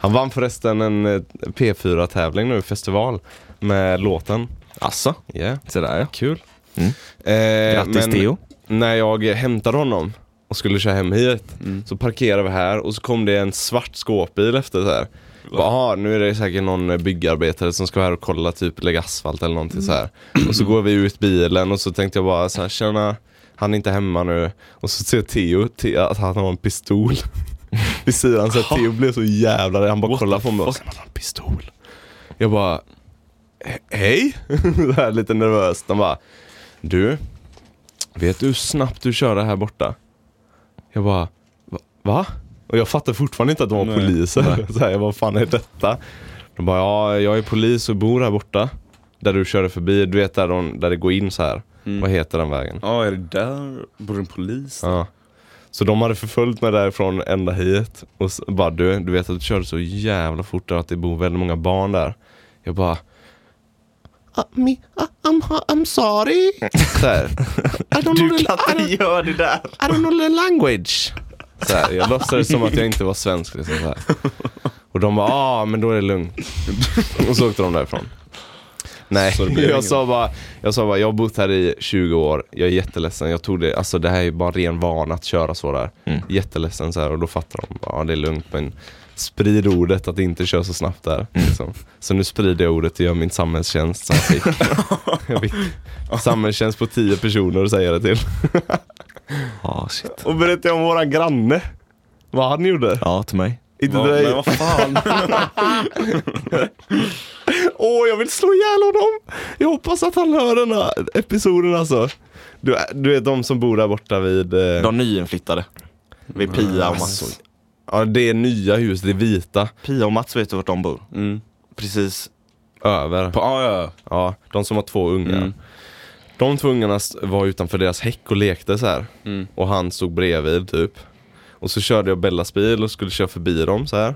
[SPEAKER 1] Han vann förresten en eh, P4-tävling nu, festival, med låten.
[SPEAKER 3] Asså?
[SPEAKER 1] Yeah,
[SPEAKER 3] Sådär ja.
[SPEAKER 1] kul.
[SPEAKER 3] Mm.
[SPEAKER 1] Eh,
[SPEAKER 3] Grattis
[SPEAKER 1] men
[SPEAKER 3] Theo.
[SPEAKER 1] När jag hämtade honom och skulle köra hem hit,
[SPEAKER 4] Mm.
[SPEAKER 1] så parkerade vi här och så kom det en svart skåpbil efter så här. Jaha, nu är det säkert någon eh, byggarbetare som ska vara här och kolla, typ lägga asfalt eller någonting så här. Och så går vi ut bilen och så tänkte jag bara så här, tjena, han är inte hemma nu. Och så ser Theo te- att han har en pistol vid sidan, så att Theo blev så jävla rädd. Han bara kollar på mig och sen hade han en pistol. Jag bara, "He- hej? Så här lite nervöst. Han bara, du, vet du hur snabbt du körde här borta? Jag bara, "Va- va? Och jag fattar fortfarande inte att de var
[SPEAKER 4] Nej.
[SPEAKER 1] poliser. Så här, jag bara, vad fan är detta? De bara, ja, jag är polis och bor här borta. Där du körde förbi, du vet där, de, där det går in så här.
[SPEAKER 4] Mm.
[SPEAKER 1] Vad heter den vägen?
[SPEAKER 4] Ja, är det där? Bor en polis?
[SPEAKER 1] Ja. Så de hade förföljt mig därifrån ända hit. Och s- bara, du, du vet att du körde så jävla fort där och att det bor väldigt många barn där. Jag bara, "Ah, me, ah, I'm, I'm sorry. Ah, Så här. I don't know the- I don't-
[SPEAKER 3] göra det där.
[SPEAKER 1] i don't know the language. Så här, jag låtsades som att jag inte var svensk. Liksom, så här. Och de bara, ah, men då är det lugnt. Och så åkte de därifrån. Nej,
[SPEAKER 4] Så det blev
[SPEAKER 1] jag
[SPEAKER 4] ingen-
[SPEAKER 1] sa, bara, jag sa bara, jag har bott här i 20 år, jag är jätteledsen. Jag tog det, alltså det här är ju bara ren vana att köra så där.
[SPEAKER 4] Mm.
[SPEAKER 1] Jätteledsen så här och då fattar de, ja ah, det är lugnt men sprid ordet att inte köra så snabbt där.
[SPEAKER 4] Mm.
[SPEAKER 1] Liksom. Så nu sprider jag ordet och gör min samhällstjänst som jag fick. jag fick samhällstjänst på 10 personer och säger det till.
[SPEAKER 3] Ja, shit.
[SPEAKER 1] Och berättade om våran granne. Vad han gjorde.
[SPEAKER 3] Ja, till mig.
[SPEAKER 1] Inte
[SPEAKER 4] Va,
[SPEAKER 1] till
[SPEAKER 4] men
[SPEAKER 1] dig.
[SPEAKER 4] vad fan?
[SPEAKER 1] Åh, jag vill slå ihjäl honom. Jag hoppas att han hör den här episoden alltså. Du, du vet de som bor där borta vid... Eh,
[SPEAKER 3] De nyinflyttade. Vid Pia och Mats.
[SPEAKER 1] alltså. ja, det är nya hus, det är vita.
[SPEAKER 3] Pia och Mats vet du vart de bor?
[SPEAKER 4] Mm.
[SPEAKER 3] Precis.
[SPEAKER 1] Över.
[SPEAKER 4] På, ah, ja,
[SPEAKER 1] Ja, de som har två ungar.
[SPEAKER 4] Mm.
[SPEAKER 1] De två ungarna s- var utanför deras häck och lekte så här.
[SPEAKER 4] Mm.
[SPEAKER 1] Och han stod bredvid typ. Och så körde jag Bellas bil och skulle köra förbi dem så här.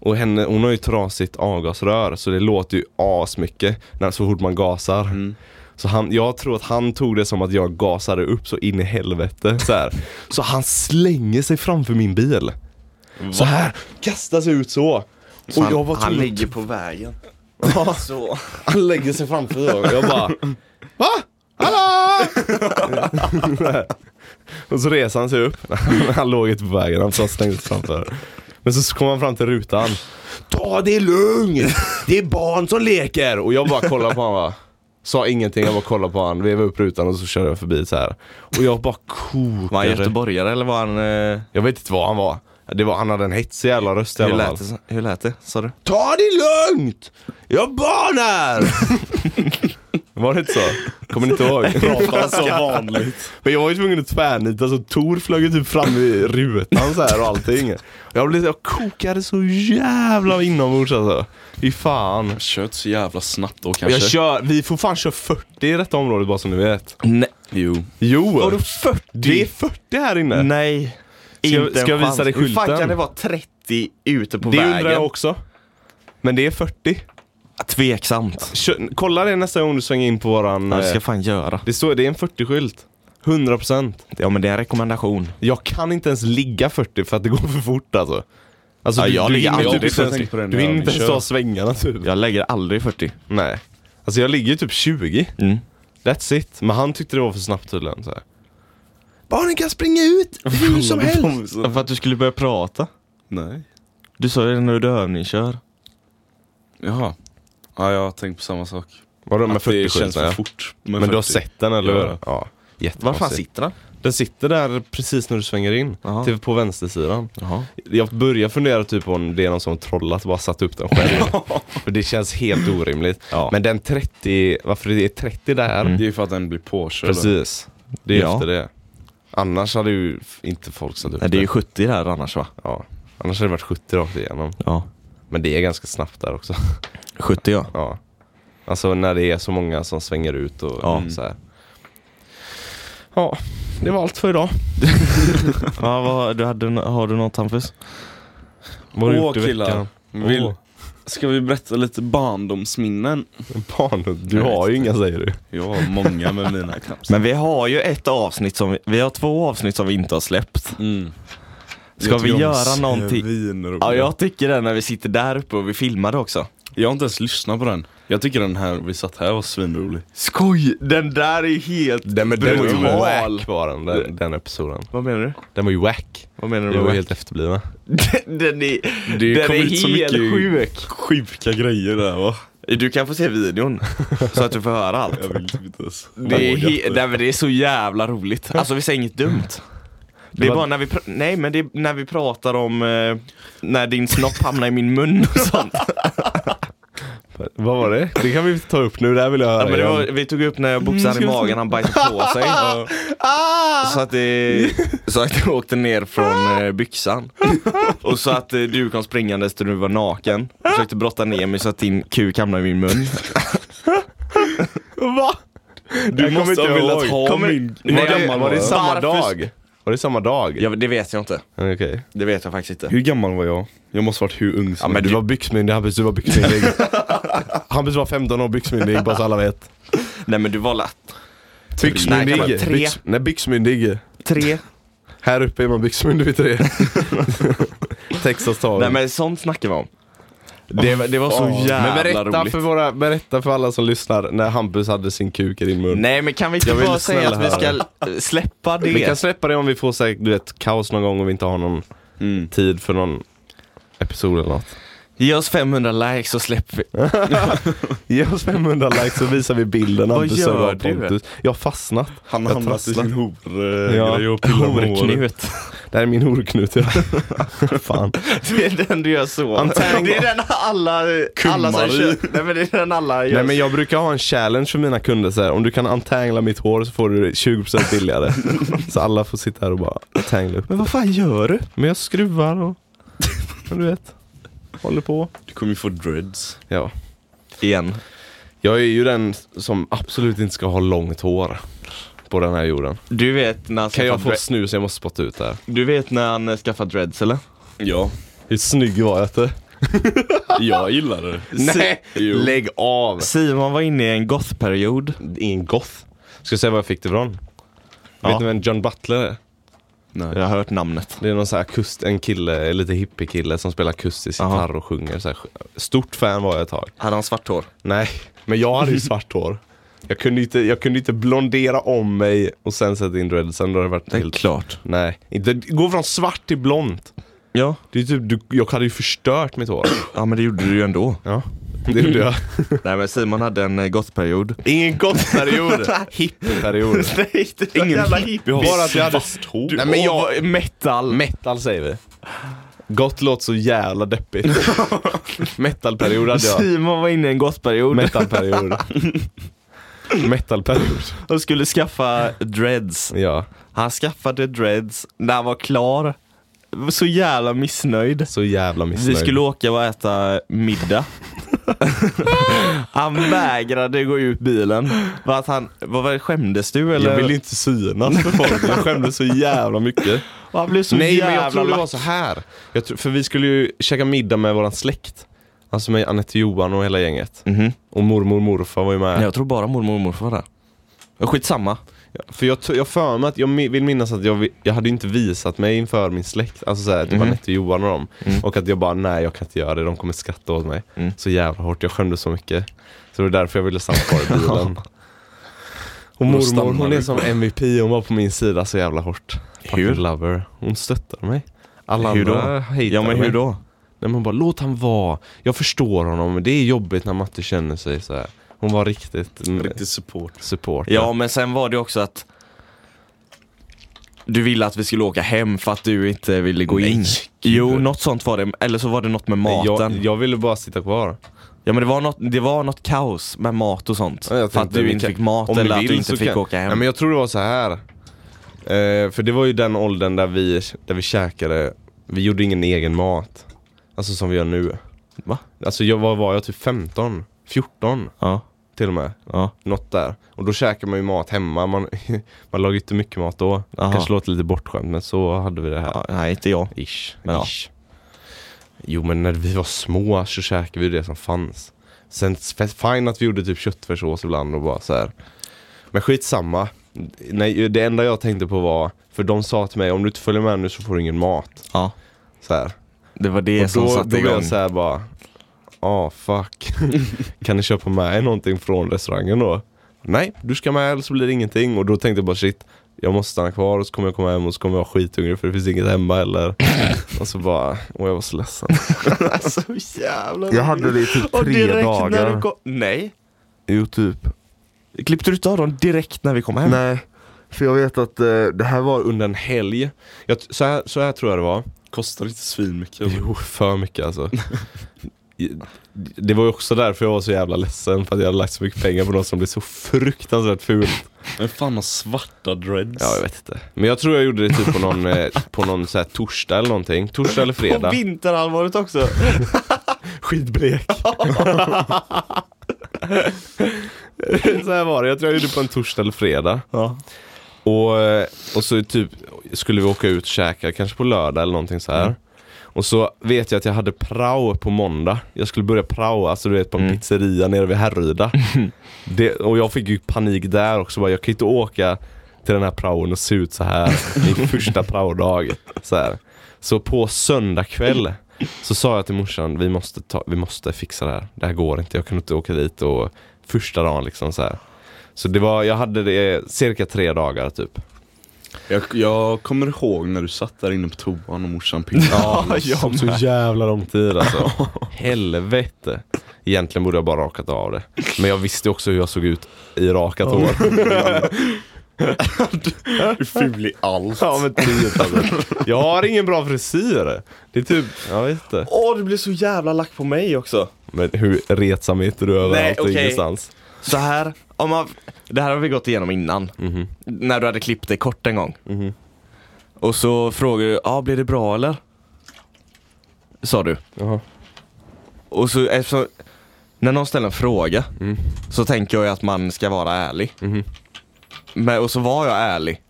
[SPEAKER 1] Och henne, hon
[SPEAKER 4] Mm.
[SPEAKER 1] har ju trasigt avgasrör så det låter ju asmycket när, så fort man gasar. Så han, jag tror att han tog det som att jag gasade upp så in i helvete. Så, här. så han slänger sig framför min bil. Så här, kastar sig ut så.
[SPEAKER 3] Så han,
[SPEAKER 1] var
[SPEAKER 3] han
[SPEAKER 1] tvungen-
[SPEAKER 3] ligger på vägen.
[SPEAKER 1] Ja,
[SPEAKER 3] Så.
[SPEAKER 1] han lägger sig framför och jag bara Va? Hallå! och så reser han sig upp. han låg inte på vägen, han satt stängt framför. Men så kom han fram till rutan. Ta det lugnt! Det är barn som leker! Och jag bara kollade på honom va. Sa ingenting, jag bara kollade på honom, vevade upp rutan och så körde jag förbi så här. Och jag bara
[SPEAKER 3] Var han
[SPEAKER 1] kokade.
[SPEAKER 3] göteborgare eller var han... Eh,
[SPEAKER 1] Jag vet inte vad han var. Det var, han hade en hetsig jävla röst i
[SPEAKER 3] hur,
[SPEAKER 1] alla fall.
[SPEAKER 3] lät det, hur lät det? Sa du?
[SPEAKER 1] Ta det lugnt! Jag har barn här! Var det inte så? Kommer ni inte ihåg?
[SPEAKER 4] Pratar så vanligt.
[SPEAKER 1] Men jag var ju tvungen att tvärnita så Tor flög ju typ fram i rutan så här och allting. Jag, blev, jag kokade så jävla inombords alltså. Fy fan.
[SPEAKER 4] Jag kört så jävla snabbt då kanske.
[SPEAKER 1] Jag kör, vi får fan köra 40 i detta området bara som ni vet.
[SPEAKER 3] Nej.
[SPEAKER 4] Jo.
[SPEAKER 1] Jo!
[SPEAKER 3] Var du 40?
[SPEAKER 1] Det är 40 här
[SPEAKER 3] Äh.
[SPEAKER 1] inne!
[SPEAKER 3] Nej.
[SPEAKER 1] Ska-
[SPEAKER 3] inte en
[SPEAKER 1] ska jag visa
[SPEAKER 3] chans.
[SPEAKER 1] dig
[SPEAKER 3] Hur fan
[SPEAKER 1] skylten?
[SPEAKER 3] kan det vara 30 ute på
[SPEAKER 1] det
[SPEAKER 3] vägen?
[SPEAKER 1] undrar jag också. Men det är 40.
[SPEAKER 3] Tveksamt.
[SPEAKER 1] Kör, kolla det nästa gång du svänger in på våran...
[SPEAKER 3] Ja, det ska
[SPEAKER 1] eh,
[SPEAKER 3] jag fan göra.
[SPEAKER 1] Det, står, det är en 40-skylt. 100%.
[SPEAKER 3] Ja men det är en rekommendation.
[SPEAKER 1] Jag kan inte ens ligga 40 för att det går för fort alltså. Alltså
[SPEAKER 3] Ja, jag
[SPEAKER 1] du, du
[SPEAKER 3] ligger
[SPEAKER 1] hinner
[SPEAKER 3] aldrig
[SPEAKER 1] typ
[SPEAKER 4] 40.
[SPEAKER 1] inte ens-
[SPEAKER 4] på den
[SPEAKER 1] Du
[SPEAKER 4] när
[SPEAKER 1] hinner
[SPEAKER 4] vi
[SPEAKER 1] inte ens
[SPEAKER 4] kör.
[SPEAKER 1] ta svängarna typ.
[SPEAKER 3] Jag lägger aldrig 40.
[SPEAKER 1] Nej. Alltså jag ligger ju typ 20.
[SPEAKER 3] Mm.
[SPEAKER 1] That's it. Men han tyckte det var för snabbt tydligen. Så här. Barnen kan springa ut hur som helst.
[SPEAKER 3] För att du skulle börja prata.
[SPEAKER 4] Nej.
[SPEAKER 3] Du sa ju det när du övningskör.
[SPEAKER 4] Jaha. Ja, jag har tänkt på samma sak.
[SPEAKER 1] Vadå med
[SPEAKER 4] Att det
[SPEAKER 1] 40
[SPEAKER 4] känns för
[SPEAKER 1] skyltarna?
[SPEAKER 4] fort. med
[SPEAKER 1] Men du har
[SPEAKER 4] 40.
[SPEAKER 1] sett den eller
[SPEAKER 4] Ja.
[SPEAKER 1] hur? Ja.
[SPEAKER 3] Var fan
[SPEAKER 1] Jättekonstigt.
[SPEAKER 3] sitter den?
[SPEAKER 1] Den sitter där precis när du svänger in.
[SPEAKER 3] Jaha.
[SPEAKER 1] Till på vänstersidan.
[SPEAKER 3] Jaha.
[SPEAKER 1] Jag börjar fundera typ på om det är någon som trollat och bara satt upp den själv. För det känns helt orimligt.
[SPEAKER 3] Ja.
[SPEAKER 1] Men den 30, varför det är 30 där,
[SPEAKER 4] Det är ju för att den blir påkörd.
[SPEAKER 1] Mm. precis. Det är
[SPEAKER 3] Ja.
[SPEAKER 1] efter det. Annars hade ju f- inte folk satt upp
[SPEAKER 3] Nej det är ju 70 där annars va?
[SPEAKER 1] Ja. Annars hade det varit 70 rakt igenom.
[SPEAKER 3] Ja.
[SPEAKER 1] Men det är ganska snabbt där också.
[SPEAKER 3] 70 ja.
[SPEAKER 1] Ja. Alltså när det är så många som svänger ut och
[SPEAKER 3] Ja.
[SPEAKER 1] så här. Ja, det var allt för idag.
[SPEAKER 3] ja vad, du hade, har du något Hampus?
[SPEAKER 1] Vad
[SPEAKER 4] Åh, killar. Vill- Ska vi berätta lite barndomsminnen?
[SPEAKER 1] Barn, du
[SPEAKER 4] Jag
[SPEAKER 1] har
[SPEAKER 4] vet
[SPEAKER 1] ju inga säger du.
[SPEAKER 4] Jag har många med mina knappt.
[SPEAKER 3] Men vi har ju ett avsnitt som vi, vi har två avsnitt som vi inte har släppt.
[SPEAKER 4] Mm.
[SPEAKER 3] Ska vi göra någonting? Ja
[SPEAKER 4] jag...
[SPEAKER 3] jag tycker det när vi sitter där uppe och vi filmade också.
[SPEAKER 4] jag har inte ens lyssnat på den. Jag tycker den här vi satt här var svinrolig.
[SPEAKER 3] Skoj! Den där är helt
[SPEAKER 1] Den, men den var ju
[SPEAKER 3] brutal.
[SPEAKER 1] wack var den, den, den episoden.
[SPEAKER 3] Vad menar du?
[SPEAKER 1] Den var ju wack.
[SPEAKER 3] Vad menar
[SPEAKER 1] Vi
[SPEAKER 3] du?
[SPEAKER 1] var
[SPEAKER 3] med-
[SPEAKER 1] helt efterblivna.
[SPEAKER 3] Den, den är,
[SPEAKER 4] Det
[SPEAKER 3] den
[SPEAKER 4] kom
[SPEAKER 3] är
[SPEAKER 4] ut så
[SPEAKER 3] helt
[SPEAKER 4] mycket-
[SPEAKER 3] sjuk.
[SPEAKER 4] Sjuka grejer där va?
[SPEAKER 3] Du kan få se videon så att du får höra allt.
[SPEAKER 4] Jag vill typ inte ens
[SPEAKER 3] Det är,
[SPEAKER 4] våga.
[SPEAKER 3] he- nej, men det är så jävla roligt. Alltså vi säger inget dumt. Det är
[SPEAKER 1] var-
[SPEAKER 3] bara när vi, pr- nej, men det är när vi pratar om eh, när din snopp hamnar i min mun och sånt.
[SPEAKER 1] Vad var det? Det kan vi ta upp nu, det här vill jag höra
[SPEAKER 3] Ja, men det
[SPEAKER 1] igen.
[SPEAKER 3] var, vi tog upp när jag boxade i magen, han bajsade på sig. Så att, det, så att det åkte ner från eh, byxan. Och så att eh, du kom springandes till du var naken. Och försökte brotta ner mig så att din kuk hamnade i min mun.
[SPEAKER 1] Va? Du
[SPEAKER 4] måste ha velat ha
[SPEAKER 1] Kommer-
[SPEAKER 4] min-
[SPEAKER 1] Var,
[SPEAKER 3] Nej,
[SPEAKER 1] det, var det samma
[SPEAKER 3] varför-
[SPEAKER 1] dag? Var det samma dag?
[SPEAKER 3] Ja, det vet jag inte.
[SPEAKER 1] Okej.
[SPEAKER 3] Det vet jag faktiskt inte.
[SPEAKER 4] Hur gammal var jag? Jag måste varit hur ung som
[SPEAKER 1] Ja men du var byxmyndig Hampus, du var byxmyndig. Hampus var 15 år byxmyndig, bara så alla vet.
[SPEAKER 3] Nej men du var lätt.
[SPEAKER 1] Byxmyndig.
[SPEAKER 3] Nej, tre.
[SPEAKER 1] Byx, nej byxmyndig.
[SPEAKER 3] Tre.
[SPEAKER 1] Här uppe är man byxmyndig vid tre. Texas tar
[SPEAKER 3] Nej men sånt snackar vi om. Det, var- det var så jävla
[SPEAKER 1] Men berätta
[SPEAKER 3] roligt.
[SPEAKER 1] för, våra, berätta för alla som lyssnar när Hampus hade sin kuk i din mun.
[SPEAKER 3] Nej men kan vi inte
[SPEAKER 1] Jag vill
[SPEAKER 3] bara säga att
[SPEAKER 1] snälla
[SPEAKER 3] vi ska eh, släppa det?
[SPEAKER 1] Vi kan släppa det om vi får så här, du vet, kaos någon gång och vi inte har någon
[SPEAKER 4] Mm.
[SPEAKER 1] tid för någon episod eller något.
[SPEAKER 3] Ge oss 500 likes så släpper vi.
[SPEAKER 1] Ge oss 500 likes så visar vi bilden
[SPEAKER 3] Vad
[SPEAKER 1] Hampus och
[SPEAKER 3] gör
[SPEAKER 1] jag och
[SPEAKER 3] du?
[SPEAKER 1] Pontus. Jag har fastnat.
[SPEAKER 4] Han
[SPEAKER 1] Jag
[SPEAKER 4] hamnade i
[SPEAKER 1] trasslar.
[SPEAKER 4] sin horgrej
[SPEAKER 1] Ja.
[SPEAKER 4] och pillade med håret.
[SPEAKER 3] Horknut.
[SPEAKER 1] Det här är min horknut. ja. Fan.
[SPEAKER 3] Det är den du gör så.
[SPEAKER 1] Antagligen-
[SPEAKER 3] Det är den alla, alla som
[SPEAKER 4] Kung-Marie.
[SPEAKER 3] kör. Nej men det är den alla gör.
[SPEAKER 1] Nej men jag brukar ha en challenge för mina kunder så här. om du kan untangla mitt hår så får du det 20% billigare. så alla får sitta här och bara untangla upp.
[SPEAKER 3] men vad fan gör du?
[SPEAKER 1] Men jag skruvar och, men du vet, håller på.
[SPEAKER 4] Du kommer ju få dreads.
[SPEAKER 1] Ja.
[SPEAKER 3] Igen.
[SPEAKER 1] Jag är ju den som absolut inte ska ha långt hår på den här jorden.
[SPEAKER 3] Du vet när han
[SPEAKER 1] Kan jag
[SPEAKER 3] skaffar
[SPEAKER 1] få
[SPEAKER 3] dre-
[SPEAKER 1] snus? Jag måste spotta ut det här.
[SPEAKER 3] Du vet när han eh, skaffar dreads eller?
[SPEAKER 4] Ja.
[SPEAKER 1] Hur snygg var jag inte?
[SPEAKER 4] Jag gillar det.
[SPEAKER 1] Nej,
[SPEAKER 4] Jo.
[SPEAKER 1] lägg av!
[SPEAKER 3] Simon var inne i en gothperiod.
[SPEAKER 1] Ingen goth. Ska jag säga var jag fick det ifrån? Vet ni vem John Butler är?
[SPEAKER 3] Jag har hört namnet.
[SPEAKER 1] Det är någon så här akust, en kille, en lite hippie kille som spelar akustisk
[SPEAKER 3] Aha.
[SPEAKER 1] gitarr och sjunger. Så här, stort fan var jag ett tag.
[SPEAKER 3] Hade han svart hår?
[SPEAKER 1] Nej, men jag hade ju svart hår. Jag kunde ju inte, jag kunde ju inte blondera om mig och sen sätta in dreadsen. Då hade det varit helt...
[SPEAKER 3] klart.
[SPEAKER 1] Nej, inte, gå från svart till blont.
[SPEAKER 3] Ja.
[SPEAKER 1] Det är typ, du, jag hade ju förstört mitt hår.
[SPEAKER 3] ja, men det gjorde du ju ändå.
[SPEAKER 1] Ja, det gjorde jag.
[SPEAKER 3] Nej men Simon hade en eh, gothperiod.
[SPEAKER 1] Ingen goth-period. Hippie-period.
[SPEAKER 3] Ingen
[SPEAKER 1] Bara att jag hade...
[SPEAKER 4] hår.
[SPEAKER 1] Nej men jag... Metal. Metal säger vi. Gott låter så jävla deppigt. Metalperiod hade jag.
[SPEAKER 3] Simon var inne i en gothperiod
[SPEAKER 1] Metalperiod. Metalperiod.
[SPEAKER 3] och skulle skaffa dreads.
[SPEAKER 1] Ja,
[SPEAKER 3] Han skaffade dreads när han var klar. Var Så jävla missnöjd.
[SPEAKER 1] så jävla
[SPEAKER 3] Vi
[SPEAKER 1] missnöjd.
[SPEAKER 3] skulle åka och äta middag. han vägrade gå ut bilen. Var att han, vad var det, skämdes du eller?
[SPEAKER 1] Jag ville inte synas för folk, jag skämdes så jävla mycket.
[SPEAKER 3] Och han blev så
[SPEAKER 1] Nej
[SPEAKER 3] jävla
[SPEAKER 1] men jag tror det
[SPEAKER 3] lack.
[SPEAKER 1] var så här. Jag tror, för vi skulle ju käka middag med våran släkt. Alltså med Anette Johan och hela gänget.
[SPEAKER 3] Mhm.
[SPEAKER 1] Och mormor och morfar var ju med.
[SPEAKER 3] Nej, Jag tror bara mormor och morfar var där. Ja, Skitsamma.
[SPEAKER 1] För jag, t- jag för mig att, jag mi- vill minnas att jag, vi- jag hade inte visat mig inför min släkt, alltså såhär, typ
[SPEAKER 3] Mhm.
[SPEAKER 1] Anette och Johan och dem.
[SPEAKER 3] Mm.
[SPEAKER 1] Och att jag bara, nej jag kan inte göra det, de kommer skratta åt mig. Så jävla hårt, jag skämdes så mycket. Så det var därför jag ville stanna kvar i bilen. Och mormor, hon är som MVP, hon var på min sida så jävla hårt. Hur? Lover. Hon stöttar mig. Alla
[SPEAKER 3] Hur då?
[SPEAKER 1] andra hatar
[SPEAKER 3] Ja men
[SPEAKER 1] mig.
[SPEAKER 3] hur då?
[SPEAKER 1] Nej men bara, låt han vara. Jag förstår honom, men det är jobbigt när Matte känner sig så här. Hon var riktigt,
[SPEAKER 4] Riktig support.
[SPEAKER 1] support.
[SPEAKER 3] Ja, men sen var det också att du ville att vi skulle åka hem för att du inte ville gå in. Jo, något sånt var det. Eller så var det något med
[SPEAKER 1] Nej,
[SPEAKER 3] maten.
[SPEAKER 1] jag, jag ville bara sitta kvar.
[SPEAKER 3] Ja, men det var, något, det var något kaos med mat och sånt.
[SPEAKER 1] Ja, jag
[SPEAKER 3] för att
[SPEAKER 1] tänkte,
[SPEAKER 3] du
[SPEAKER 1] vi
[SPEAKER 3] inte
[SPEAKER 1] kan-
[SPEAKER 3] fick mat
[SPEAKER 1] om ni
[SPEAKER 3] eller att du
[SPEAKER 1] vill
[SPEAKER 3] inte
[SPEAKER 1] så
[SPEAKER 3] fick
[SPEAKER 1] kan-
[SPEAKER 3] åka hem.
[SPEAKER 1] Nej, men jag tror det var så här. Eh, för det var ju den åldern där vi, där vi käkade, vi gjorde ingen egen mat. Alltså som vi gör nu.
[SPEAKER 3] Va?
[SPEAKER 1] Alltså jag, vad var jag? Typ 15? 14
[SPEAKER 3] Ja,
[SPEAKER 1] till och med.
[SPEAKER 3] ja.
[SPEAKER 1] Något där. Och då käkar man ju mat hemma. Man, man lagar ju inte mycket mat då.
[SPEAKER 3] Aha.
[SPEAKER 1] Kanske låter lite bortskämt men så hade vi det här.
[SPEAKER 3] ja. Nej, inte jag.
[SPEAKER 1] Ish.
[SPEAKER 3] Men ja.
[SPEAKER 1] Ish. Jo men när vi var små så käkade vi det som fanns. Sen f- fine att vi gjorde typ köttfärssås ibland och bara så här. Men skitsamma. Nej, det enda jag tänkte på var, för de sa till mig om du inte följer med nu så får du ingen mat.
[SPEAKER 3] Ja.
[SPEAKER 1] Så här.
[SPEAKER 3] Det var det
[SPEAKER 1] Och
[SPEAKER 3] som
[SPEAKER 1] då, då
[SPEAKER 3] satte
[SPEAKER 1] var
[SPEAKER 3] igång.
[SPEAKER 1] jag så här bara, ah fuck. kan ni köpa med er någonting från restaurangen då? Nej, du ska med eller så blir det ingenting. Och då tänkte jag bara shit, jag måste stanna kvar och så kommer jag komma hem och så kommer jag vara skithungrig för det finns inget hemma eller. och så bara, och jag var så ledsen.
[SPEAKER 3] så Alltså, jävla
[SPEAKER 1] Jag hade det i typ
[SPEAKER 3] Och
[SPEAKER 1] tre
[SPEAKER 3] direkt När du
[SPEAKER 1] dagar.
[SPEAKER 3] kom... Nej.
[SPEAKER 1] Jo typ.
[SPEAKER 3] Klippte du inte av dem direkt när vi kom hem?
[SPEAKER 1] Nej, för jag vet att eh, det här var under en helg. Jag, t- så, här, så här tror jag det var.
[SPEAKER 4] Kostar inte svinmycket.
[SPEAKER 1] Jo, för mycket alltså. Det var ju också därför jag var så jävla ledsen för att jag hade lagt så mycket pengar på något som blev så fruktansvärt fult.
[SPEAKER 4] Men fan har svarta dreads?
[SPEAKER 1] Ja, jag vet inte. Men jag tror jag gjorde det typ på någon, eh, på någon så här torsdag eller någonting. Torsdag eller fredag.
[SPEAKER 3] På vinterhalvåret också.
[SPEAKER 1] Skitblek. så här var det, jag tror jag gjorde det på en torsdag eller fredag.
[SPEAKER 3] Ja.
[SPEAKER 1] Och, eh, och så typ skulle vi åka ut och käka, kanske på lördag eller någonting så här. Och så vet jag att jag hade prao på måndag. Jag skulle börja prao, alltså du vet på en pizzeria nere vid Härryda. Det, och jag fick ju panik där också, bara, jag kan ju inte åka till den här praon och se ut så här min första praodag. Så, här. så på söndag kväll så sa jag till morsan, vi måste, ta, vi måste fixa det här. Det här går inte, jag kan inte åka dit och första dagen liksom så här. Så det var, jag hade det cirka tre dagar typ.
[SPEAKER 4] Jag, jag kommer ihåg när du satt där inne på toan och morsan pillade.
[SPEAKER 1] Ja, jag så jävla lång tid alltså. Helvete. Egentligen borde jag bara rakat av det. Men jag visste också hur jag såg ut i rakat hår.
[SPEAKER 4] Du är ful i allt.
[SPEAKER 1] Ja men typ alltså. Jag har ingen bra frisyr. Det är typ, jag vet inte.
[SPEAKER 3] Åh, du blev så jävla lack på mig också.
[SPEAKER 1] Men hur retsam är inte du
[SPEAKER 3] Nej,
[SPEAKER 1] överallt och
[SPEAKER 3] okej.
[SPEAKER 1] ingenstans?
[SPEAKER 3] Så här, om man, det här har vi gått igenom innan.
[SPEAKER 1] Mhm.
[SPEAKER 3] När du hade klippt dig kort en gång. Och så frågade du, ah, blir det bra eller? Sa du.
[SPEAKER 1] Jaha.
[SPEAKER 3] Och så eftersom, när någon ställer en fråga
[SPEAKER 1] Mm.
[SPEAKER 3] så tänker jag ju att man ska vara ärlig. Men, och så var jag ärlig.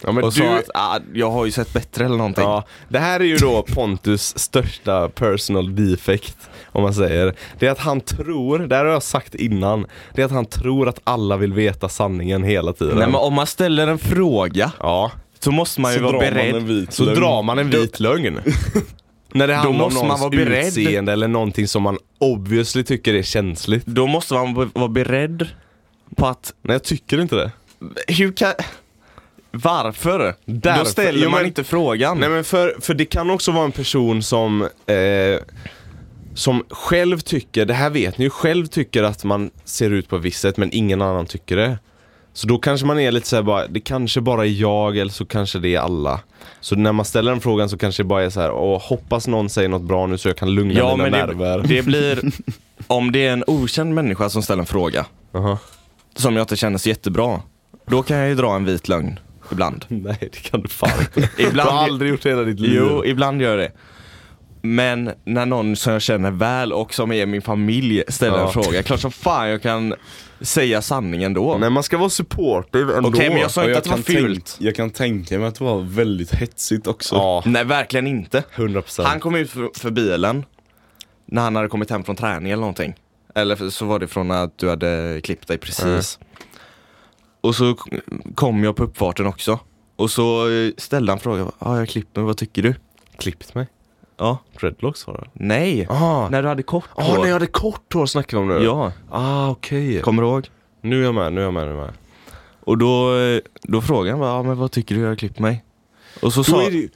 [SPEAKER 1] Ja, Mhm. men
[SPEAKER 3] och
[SPEAKER 1] du,
[SPEAKER 3] sa att ah, jag har ju sett bättre eller någonting.
[SPEAKER 1] Ja, det här är ju då Pontus största personal defect, om man säger. Det är att han tror, det här har jag sagt innan, det är att han tror att alla vill veta sanningen hela tiden.
[SPEAKER 3] Nej men om man ställer en fråga
[SPEAKER 1] ja,
[SPEAKER 3] så måste man ju
[SPEAKER 4] Så
[SPEAKER 3] vara
[SPEAKER 4] drar man
[SPEAKER 3] beredd.
[SPEAKER 4] en vit
[SPEAKER 1] så
[SPEAKER 4] lögn.
[SPEAKER 1] drar man en vit lögn. När det handlar om
[SPEAKER 3] måste man
[SPEAKER 1] någons
[SPEAKER 3] vara beredd.
[SPEAKER 1] utseende eller någonting som man obviously tycker är känsligt.
[SPEAKER 3] Då måste man be- vara beredd på att,
[SPEAKER 1] Nej, jag tycker inte det.
[SPEAKER 3] hur kan... Varför?
[SPEAKER 1] Därför.
[SPEAKER 3] Då ställer
[SPEAKER 1] Jo,
[SPEAKER 3] man
[SPEAKER 1] men-
[SPEAKER 3] inte frågan.
[SPEAKER 1] Nej men för, för det kan också vara en person som eh, som själv tycker, det här vet ni ju, själv tycker att man ser ut på ett visst sätt men ingen annan tycker det. Så då kanske man är lite såhär bara, det kanske bara är jag eller så kanske det är alla. Så när man ställer den frågan så kanske det bara är så här, åh hoppas någon säger något bra nu så jag kan lugna
[SPEAKER 3] ja,
[SPEAKER 1] mina
[SPEAKER 3] men
[SPEAKER 1] nerver.
[SPEAKER 3] det, det blir... Om det är en okänd människa som ställer en fråga
[SPEAKER 1] Jaha.
[SPEAKER 3] som jag inte känner så jättebra, då kan jag ju dra en vit lögn ibland.
[SPEAKER 1] Nej det kan du fan inte. Du
[SPEAKER 3] ibland
[SPEAKER 1] har aldrig gjort det i hela ditt liv.
[SPEAKER 3] Jo, ibland gör jag det. Men när någon som jag känner väl och som är min familj ställer
[SPEAKER 1] Ja.
[SPEAKER 3] en fråga, klart som fan jag kan säga sanningen då.
[SPEAKER 1] Nej man ska vara supportive ändå.
[SPEAKER 3] Okej, men jag sa
[SPEAKER 4] Och
[SPEAKER 3] inte
[SPEAKER 4] jag
[SPEAKER 3] att det var
[SPEAKER 4] kan tänk-
[SPEAKER 3] fult.
[SPEAKER 4] Jag kan tänka mig att det var väldigt hetsigt också.
[SPEAKER 1] Ja,
[SPEAKER 3] Nej, verkligen inte.
[SPEAKER 1] 100%.
[SPEAKER 3] Han kom ut för, för bilen när han hade kommit hem från träning eller någonting. Eller för- så var det från att du hade klippt dig precis. Och så k- kom jag på uppfarten också. Och så eh, ställde han frågan, ja jag har klippt mig, vad tycker du?
[SPEAKER 1] klippt mig.
[SPEAKER 3] Ja,
[SPEAKER 1] Dreadlocks har du?
[SPEAKER 3] nej.
[SPEAKER 1] Ah,
[SPEAKER 3] När du hade kort
[SPEAKER 1] ah, när jag hade kort hår snackar vi om nu.
[SPEAKER 3] Ja,
[SPEAKER 1] Ah okej.
[SPEAKER 3] kommer du ihåg?
[SPEAKER 1] Nu är jag med, nu är jag med, nu är jag med.
[SPEAKER 3] Och då, eh, då frågade han bara, ja, men vad tycker du jag har klippt mig? Och så
[SPEAKER 1] Då
[SPEAKER 3] sa,
[SPEAKER 1] är det ju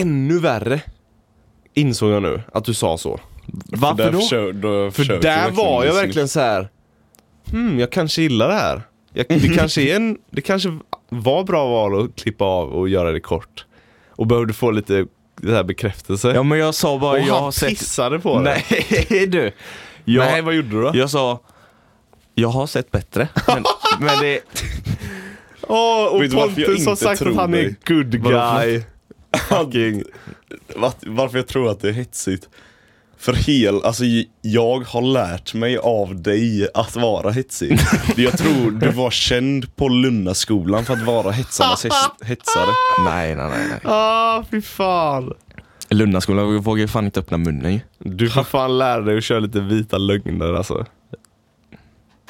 [SPEAKER 1] ännu värre. Insåg jag nu, att du sa så.
[SPEAKER 3] varför
[SPEAKER 4] där
[SPEAKER 3] då?
[SPEAKER 4] försö- då liksom-
[SPEAKER 1] För
[SPEAKER 4] försökte
[SPEAKER 1] där var jag
[SPEAKER 4] bli
[SPEAKER 1] verkligen så här. Hmm, jag kanske gillar det här. Jag, det, kanske är en, det kanske var bra val att klippa av och göra det kort. Och behövde få lite det här bekräftelse.
[SPEAKER 3] Ja men jag sa bara,
[SPEAKER 1] och
[SPEAKER 3] jag
[SPEAKER 1] han
[SPEAKER 3] har sett...
[SPEAKER 1] pissade på det.
[SPEAKER 3] Nej du! Jag,
[SPEAKER 1] Nej, vad gjorde du då?
[SPEAKER 3] jag sa, jag har sett bättre. Men, men det,
[SPEAKER 1] Åh, och
[SPEAKER 4] Vet du varför jag
[SPEAKER 1] Pontus har
[SPEAKER 4] inte
[SPEAKER 1] sagt
[SPEAKER 4] tror
[SPEAKER 1] att han är
[SPEAKER 4] dig?
[SPEAKER 1] good guy.
[SPEAKER 4] Fucking. Vart- Varför jag tror att det är hetsigt? För hel, alltså j- jag har lärt mig av dig att vara hetsig. Jag tror du var känd på Lunnaskolan för att vara hetsarnas hets- hetsare.
[SPEAKER 3] nej nej nej. nej.
[SPEAKER 1] Ah, fy fan.
[SPEAKER 3] Lundaskolan vågar ju fan inte öppna munnen ju.
[SPEAKER 1] Du får fan lära dig att köra lite vita lögner alltså.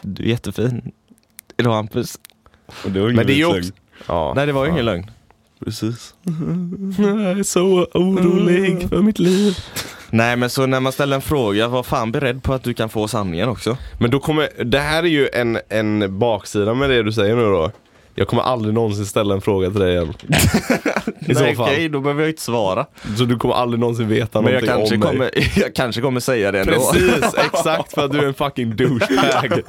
[SPEAKER 3] Du är jättefin. Idag Hampus.
[SPEAKER 4] Och det var ingen
[SPEAKER 1] Men det är ju
[SPEAKER 4] vit
[SPEAKER 1] också...
[SPEAKER 4] lögn.
[SPEAKER 1] Ja.
[SPEAKER 3] Nej det var ju ingen lögn.
[SPEAKER 4] Precis.
[SPEAKER 1] Jag är så orolig för mitt liv.
[SPEAKER 3] Nej men så när man ställer en fråga, var fan beredd på att du kan få sanningen också.
[SPEAKER 1] Men då kommer, det här är ju en, en baksida med det du säger nu då. Jag kommer aldrig någonsin ställa en fråga till dig igen. I så
[SPEAKER 3] Nej,
[SPEAKER 1] fall.
[SPEAKER 3] Okej, då behöver jag inte svara.
[SPEAKER 1] Så du kommer aldrig någonsin veta
[SPEAKER 3] Men jag
[SPEAKER 1] någonting
[SPEAKER 3] kanske,
[SPEAKER 1] om mig.
[SPEAKER 3] kommer, jag kanske kommer säga det ändå.
[SPEAKER 1] Precis, exakt för att du är en fucking douchebag.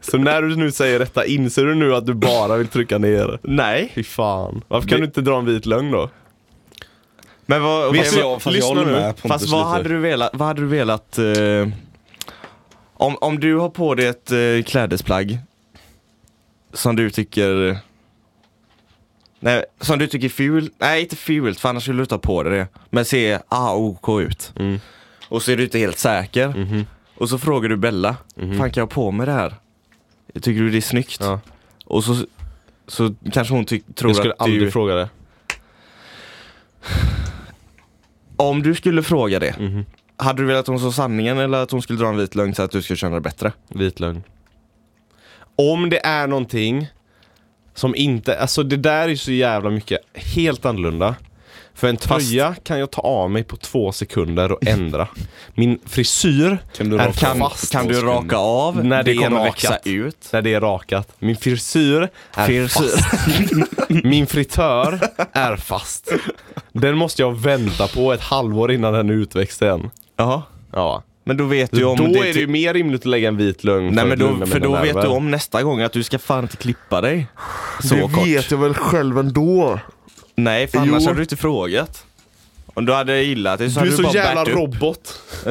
[SPEAKER 1] så när du nu säger detta, inser du nu att du bara vill trycka ner?
[SPEAKER 3] Nej.
[SPEAKER 1] Fy fan. Varför kan du inte dra en vit lögn då?
[SPEAKER 3] Men vad,
[SPEAKER 1] Vet
[SPEAKER 3] fast,
[SPEAKER 1] du-
[SPEAKER 4] jag- fast jag
[SPEAKER 1] lyssna
[SPEAKER 4] håller
[SPEAKER 1] nu.
[SPEAKER 4] med Pontus
[SPEAKER 3] fast vad
[SPEAKER 4] lite.
[SPEAKER 3] hade du velat, vad hade du velat eh, om, om du har på dig ett eh, klädesplagg som du tycker Nej, som du tycker är ful, nej inte fult för annars skulle du ta på dig det. Men ser ah, OK ut.
[SPEAKER 4] Mm.
[SPEAKER 3] Och så är du inte helt säker.
[SPEAKER 4] Mhm.
[SPEAKER 3] Och så frågar du Bella, fan kan jag ha på mig det här? Tycker du det är snyggt?
[SPEAKER 1] Ja.
[SPEAKER 3] Och så, så kanske hon ty- tror
[SPEAKER 1] Jag skulle
[SPEAKER 3] att du...
[SPEAKER 1] aldrig fråga det.
[SPEAKER 3] Om du skulle fråga det,
[SPEAKER 1] Mhm.
[SPEAKER 3] hade du velat att hon sa sanningen eller att hon skulle dra en vit lögn så att du skulle känna dig bättre?
[SPEAKER 1] Vit lögn. Om det är någonting som inte, alltså det där är ju så jävla mycket helt annorlunda. För en tröja kan jag ta av mig på två sekunder och ändra. Min frisyr
[SPEAKER 4] Kan du
[SPEAKER 1] är
[SPEAKER 4] raka
[SPEAKER 1] kan,
[SPEAKER 4] av?
[SPEAKER 1] fast
[SPEAKER 3] Kan du raka av?
[SPEAKER 1] När det är
[SPEAKER 3] kommer
[SPEAKER 1] rakat.
[SPEAKER 3] växa ut.
[SPEAKER 1] när det är rakat. Min frisyr är
[SPEAKER 3] Frisyr.
[SPEAKER 1] fast. Min fritör är fast. Den måste jag vänta på ett halvår innan den är utväxt igen.
[SPEAKER 3] Jaha.
[SPEAKER 1] Ja.
[SPEAKER 3] Men då vet du
[SPEAKER 1] Då
[SPEAKER 3] om det... typ-
[SPEAKER 1] är det ju mer rimligt att lägga en vit lögn
[SPEAKER 3] Nej
[SPEAKER 1] för
[SPEAKER 3] men
[SPEAKER 1] att lugna
[SPEAKER 3] då, för
[SPEAKER 1] mina
[SPEAKER 3] då vet
[SPEAKER 1] nerver.
[SPEAKER 3] du om nästa gång att du ska fan inte klippa dig. Så kort.
[SPEAKER 1] jag väl själv ändå.
[SPEAKER 3] Nej för
[SPEAKER 1] Jo.
[SPEAKER 3] annars hade du inte frågat. Om du hade gillat det
[SPEAKER 1] Du
[SPEAKER 3] så hade
[SPEAKER 1] är
[SPEAKER 3] du,
[SPEAKER 1] så
[SPEAKER 3] bara
[SPEAKER 1] jävla
[SPEAKER 3] bärt upp.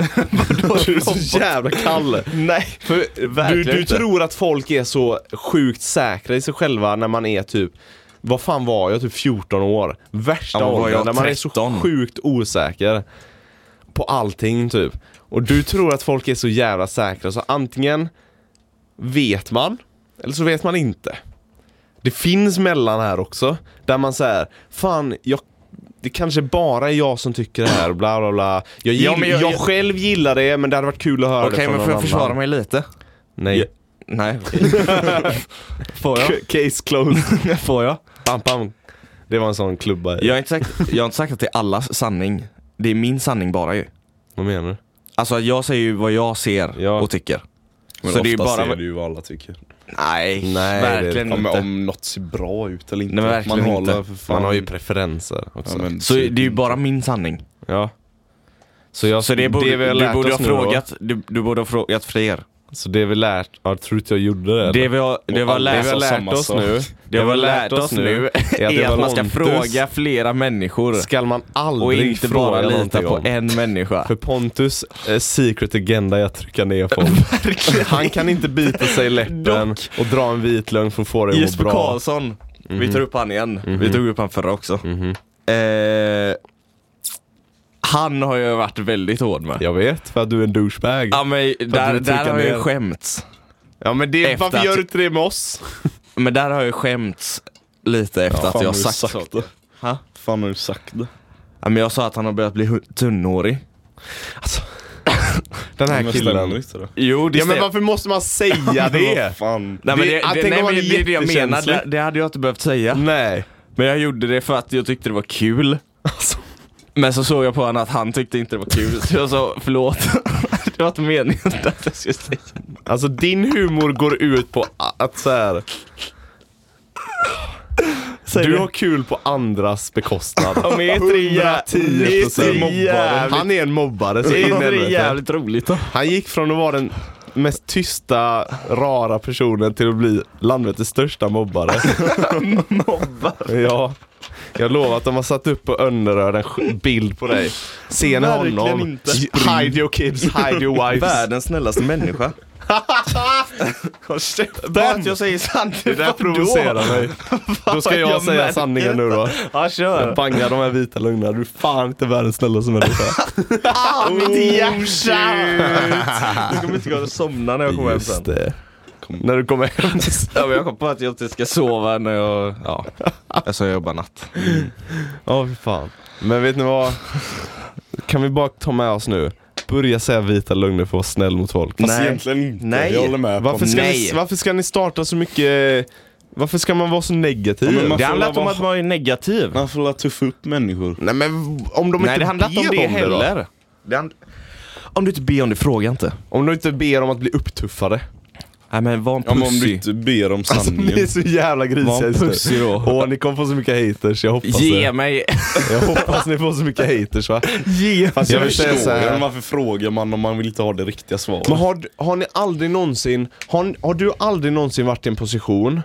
[SPEAKER 1] robot. du är så jävla kall.
[SPEAKER 3] Nej.
[SPEAKER 1] För du
[SPEAKER 3] verkligen
[SPEAKER 1] du
[SPEAKER 3] inte.
[SPEAKER 1] tror att folk är så sjukt säkra i sig själva när man är typ vad fan var jag? Typ 14 år. Värsta
[SPEAKER 3] Ja, men var
[SPEAKER 1] åldern
[SPEAKER 3] jag
[SPEAKER 1] när man är så
[SPEAKER 3] 13?
[SPEAKER 1] sjukt osäker på allting typ. Och du tror att folk är så jävla säkra så antingen vet man eller så vet man inte. Det finns mellan här också, där man säger fan jag det kanske bara är jag som tycker det här och bla bla bla. Jag, gill,
[SPEAKER 3] Ja, men
[SPEAKER 1] jag,
[SPEAKER 3] jag- jag-
[SPEAKER 1] själv gillar det men det hade varit kul att höra
[SPEAKER 3] Okej
[SPEAKER 1] det från
[SPEAKER 3] men
[SPEAKER 1] någon
[SPEAKER 3] får jag försvara
[SPEAKER 1] annan.
[SPEAKER 3] mig lite?
[SPEAKER 1] Nej.
[SPEAKER 4] Ja.
[SPEAKER 3] Nej okej. Får jag?
[SPEAKER 1] Case closed.
[SPEAKER 3] Får jag?
[SPEAKER 1] Bam, bam. Det var en sån klubba i.
[SPEAKER 3] Jag har inte sagt, jag har inte sagt att det är allas sanning. Det är min sanning bara ju.
[SPEAKER 1] Vad menar du?
[SPEAKER 3] Alltså jag säger ju vad jag ser
[SPEAKER 1] Ja.
[SPEAKER 3] och tycker.
[SPEAKER 4] Men
[SPEAKER 3] Så
[SPEAKER 4] ofta
[SPEAKER 3] det är bara-
[SPEAKER 4] ser du ju vad alla tycker.
[SPEAKER 3] Nej,
[SPEAKER 1] Nej, det-
[SPEAKER 3] verkligen
[SPEAKER 4] Ja, men
[SPEAKER 3] inte.
[SPEAKER 4] om något ser bra ut eller inte.
[SPEAKER 3] Nej, men verkligen
[SPEAKER 4] man håller
[SPEAKER 3] inte.
[SPEAKER 4] för fan.
[SPEAKER 1] Man har ju preferenser också.
[SPEAKER 4] ja, men, typ.
[SPEAKER 3] Så det är ju bara min sanning.
[SPEAKER 1] Ja. Så, jag,
[SPEAKER 3] Så det borde,
[SPEAKER 1] vi har
[SPEAKER 3] du
[SPEAKER 1] lärt
[SPEAKER 3] borde
[SPEAKER 1] oss
[SPEAKER 3] ha
[SPEAKER 1] nu då-
[SPEAKER 3] frågat, du, du borde ha frågat fler.
[SPEAKER 1] Så det vi lärt, ja, tror du inte jag gjorde det?
[SPEAKER 3] Det vi har, det vi har
[SPEAKER 4] alla
[SPEAKER 1] det vi
[SPEAKER 3] lärt
[SPEAKER 1] har
[SPEAKER 4] sa
[SPEAKER 1] lärt
[SPEAKER 3] oss,
[SPEAKER 4] samma
[SPEAKER 1] oss
[SPEAKER 4] sak.
[SPEAKER 1] nu,
[SPEAKER 3] det vi har lärt oss nu
[SPEAKER 1] är att,
[SPEAKER 3] är att man ska
[SPEAKER 1] Pontus
[SPEAKER 3] fråga flera människor.
[SPEAKER 1] Ska man
[SPEAKER 3] Och
[SPEAKER 1] aldrig
[SPEAKER 3] inte
[SPEAKER 1] fråga
[SPEAKER 3] bara lita
[SPEAKER 1] någonting
[SPEAKER 3] på
[SPEAKER 1] om.
[SPEAKER 3] en människa.
[SPEAKER 1] För Pontus eh, secret agenda är att trycka ner folk. Han kan inte bita sig i läppen och dra en vit lögn för att få det att
[SPEAKER 3] Jesper
[SPEAKER 1] må bra.
[SPEAKER 3] Karlsson. Vi tar upp han igen. Vi tog upp han förra också. Eh, han har jag varit väldigt hård med. Ja.
[SPEAKER 1] Jag vet, för att du är en douchebag.
[SPEAKER 3] men där,
[SPEAKER 1] vill
[SPEAKER 3] där
[SPEAKER 1] trycka
[SPEAKER 3] har jag
[SPEAKER 1] ner.
[SPEAKER 3] ju skämts.
[SPEAKER 1] Ja men det,
[SPEAKER 3] Efter
[SPEAKER 1] varför
[SPEAKER 3] att-
[SPEAKER 1] gör du inte det med oss?
[SPEAKER 3] Men där har jag skämts lite efter att
[SPEAKER 4] fan
[SPEAKER 3] jag har
[SPEAKER 4] har du
[SPEAKER 3] sagt,
[SPEAKER 4] sagt
[SPEAKER 3] saker.
[SPEAKER 4] det.
[SPEAKER 3] Ha?
[SPEAKER 4] Fan har du sagt det?
[SPEAKER 3] Ja, men jag sa att han har börjat bli hu- tunnhårig.
[SPEAKER 1] Den här
[SPEAKER 4] Men stämmer
[SPEAKER 1] killen.
[SPEAKER 4] inte det?
[SPEAKER 3] Jo det
[SPEAKER 1] Ja men varför måste man säga det?
[SPEAKER 4] Vad fan.
[SPEAKER 3] Nej men
[SPEAKER 1] Det- Mm.
[SPEAKER 3] det,
[SPEAKER 1] jag
[SPEAKER 3] det,
[SPEAKER 1] tänker
[SPEAKER 3] nej,
[SPEAKER 1] vara
[SPEAKER 3] men det är det jag menar,
[SPEAKER 1] jättekänslig.
[SPEAKER 3] det, det hade jag inte behövt säga.
[SPEAKER 1] Nej. Alltså,
[SPEAKER 3] Men jag gjorde det för att jag tyckte det var kul. Men så såg jag på honom att han tyckte inte det var kul, så jag sa förlåt. det var inte meningen att jag skulle säga.
[SPEAKER 1] Alltså din humor går ut på a- att så här. Du har kul på andras bekostnad. Han är
[SPEAKER 3] jävligt-
[SPEAKER 1] Han är en mobbare. så
[SPEAKER 3] Det
[SPEAKER 1] in i
[SPEAKER 3] är det
[SPEAKER 1] helvete.
[SPEAKER 3] jävligt roligt då.
[SPEAKER 1] Han gick från att vara den mest tysta, rara personen till att bli landvetets största mobbare. mobbare? Ja. Jag lovar att de har satt upp på Önneröd en sk- bild på dig. Ser ni
[SPEAKER 4] Verkligen
[SPEAKER 1] honom?
[SPEAKER 4] inte.
[SPEAKER 1] Hide your kids, hide your wives.
[SPEAKER 3] snällaste människa. Bara att jag säger sanningen,
[SPEAKER 1] Det där provocerar mig. Då ska jag,
[SPEAKER 3] jag
[SPEAKER 1] säga
[SPEAKER 3] märker
[SPEAKER 1] sanningen nu då.
[SPEAKER 3] Ja
[SPEAKER 1] Jag
[SPEAKER 3] kör.
[SPEAKER 1] bangar de här vita lögnerna. Du är fan inte världens snällaste människa.
[SPEAKER 3] Ah, mitt hjärta! Det kommer inte gå att somna när jag kommer hem sen.
[SPEAKER 1] Just det. När du kommer hem.
[SPEAKER 3] Ja, men jag kom på att jag inte ska sova när jag, ja. Alltså jag jobbar natt.
[SPEAKER 1] Ja, fy fan. Men vet ni vad? Kan vi bara ta med oss nu? Börja säga vita lögner för att vara snäll mot folk.
[SPEAKER 4] Fast
[SPEAKER 3] Nej.
[SPEAKER 4] egentligen inte.
[SPEAKER 3] Nej.
[SPEAKER 4] Jag håller med.
[SPEAKER 1] Varför
[SPEAKER 4] på
[SPEAKER 1] ska, ni,
[SPEAKER 3] Nej.
[SPEAKER 1] varför ska ni starta så mycket... Varför ska man vara så negativ?
[SPEAKER 4] Ja, men man-
[SPEAKER 3] Det handlar inte om
[SPEAKER 4] vara-
[SPEAKER 3] att man är negativ.
[SPEAKER 4] Man får la tuffa upp människor.
[SPEAKER 1] Nej men om de
[SPEAKER 3] Nej, det handlar inte om det
[SPEAKER 1] då?
[SPEAKER 3] heller. Det hand- Om du inte ber om det, fråga inte.
[SPEAKER 1] Om de inte ber om att bli upptuffade.
[SPEAKER 3] Nej men var en
[SPEAKER 4] Ja, men om du
[SPEAKER 3] pussy.
[SPEAKER 4] inte ber om
[SPEAKER 1] Alltså
[SPEAKER 4] sanningen.
[SPEAKER 1] ni är så jävla
[SPEAKER 3] Var
[SPEAKER 1] grisiga
[SPEAKER 3] en
[SPEAKER 1] just nu.
[SPEAKER 3] pussy då.
[SPEAKER 1] Åh, ni kommer få så mycket haters. Jag hoppas
[SPEAKER 3] Ge
[SPEAKER 1] det.
[SPEAKER 3] mig,
[SPEAKER 1] Jag hoppas ni får så mycket haters va?
[SPEAKER 3] ge
[SPEAKER 4] Fast
[SPEAKER 1] Jag
[SPEAKER 4] jag,
[SPEAKER 1] vill säga
[SPEAKER 4] förstår
[SPEAKER 1] så här.
[SPEAKER 4] ju, men varför frågar man om man vill inte ha det riktiga svaret?
[SPEAKER 1] Men har, har ni aldrig någonsin, har, har du aldrig någonsin varit i en position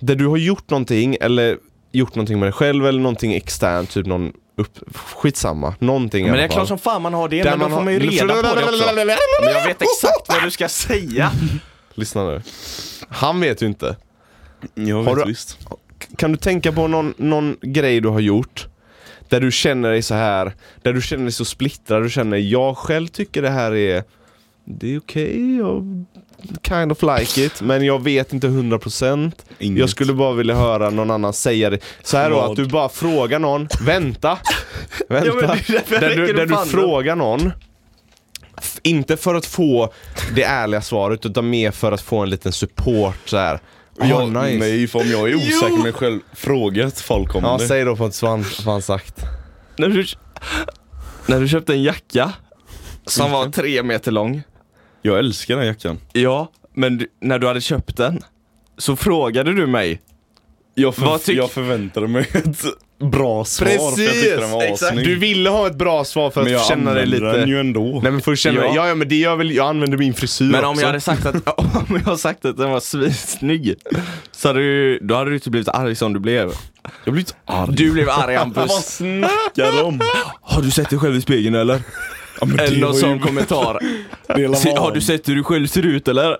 [SPEAKER 1] där du har gjort någonting eller gjort någonting med dig själv eller någonting externt, typ någon upp, skitsamma, någonting
[SPEAKER 3] Men
[SPEAKER 1] i
[SPEAKER 3] det
[SPEAKER 1] alla
[SPEAKER 3] är klart
[SPEAKER 1] fall.
[SPEAKER 3] som fan man har det,
[SPEAKER 1] Där
[SPEAKER 3] men då
[SPEAKER 1] man
[SPEAKER 3] får man ju
[SPEAKER 1] har-
[SPEAKER 3] reda på det också. Men jag vet exakt vad du ska säga.
[SPEAKER 1] Lyssna nu. Han vet ju inte.
[SPEAKER 4] jag
[SPEAKER 1] har
[SPEAKER 4] vet
[SPEAKER 1] du-
[SPEAKER 4] visst.
[SPEAKER 1] Kan du tänka på någon, någon grej du har gjort där du känner dig så här, där du känner dig så splittrad, du känner jag själv tycker det här är det är okej, jag kind of like it, men jag vet inte 100%
[SPEAKER 4] Inget.
[SPEAKER 1] Jag skulle bara vilja höra någon annan säga det. Så här då,
[SPEAKER 4] Vad?
[SPEAKER 1] att du bara frågar någon, vänta,
[SPEAKER 3] Ja, men det
[SPEAKER 1] vänta.
[SPEAKER 3] är därför jag
[SPEAKER 1] där du,
[SPEAKER 3] räcker
[SPEAKER 1] där
[SPEAKER 3] upp
[SPEAKER 1] du
[SPEAKER 3] handen.
[SPEAKER 1] frågar någon, f- inte för att få det ärliga svaret, utan mer för att få en liten support så här.
[SPEAKER 4] jag,
[SPEAKER 1] "Ah, nice."
[SPEAKER 4] Nej, för om jag är osäker med mig själv, fråga ett folk om
[SPEAKER 1] Ja,
[SPEAKER 4] det.
[SPEAKER 1] säg då på ett vad han sagt.
[SPEAKER 3] När du, när du köpte en jacka som var tre meter lång.
[SPEAKER 4] Jag älskar den här jackan.
[SPEAKER 3] Ja, men du, när du hade köpt den så frågade du mig.
[SPEAKER 4] Jag, för,
[SPEAKER 3] Vad tyck-
[SPEAKER 4] jag förväntade mig ett bra svar för jag tyckte den var asning.
[SPEAKER 1] Du ville ha ett bra svar för
[SPEAKER 4] Men jag
[SPEAKER 1] att känna dig
[SPEAKER 4] använder den
[SPEAKER 1] lite...
[SPEAKER 4] ju ändå.
[SPEAKER 1] Nej men för att känna
[SPEAKER 3] Ja.
[SPEAKER 1] dig, ja. ja men det gör väl, jag använder min frisyr
[SPEAKER 3] Men om
[SPEAKER 1] också.
[SPEAKER 3] jag hade sagt att, om jag sagt att den var svinsnygg, så hade du, då hade du inte blivit arg som du blev.
[SPEAKER 4] Jag blir inte arg.
[SPEAKER 3] Du blev arg
[SPEAKER 4] Vad
[SPEAKER 3] Hampus.
[SPEAKER 4] snackar du om?
[SPEAKER 3] Har du sett dig själv i spegeln eller?
[SPEAKER 4] Ja, men
[SPEAKER 3] Eller
[SPEAKER 4] det
[SPEAKER 3] någon
[SPEAKER 4] var
[SPEAKER 3] sån
[SPEAKER 4] ju
[SPEAKER 3] kommentar.
[SPEAKER 4] Dela
[SPEAKER 3] Se, har
[SPEAKER 4] van.
[SPEAKER 3] du sett hur du själv ser ut eller?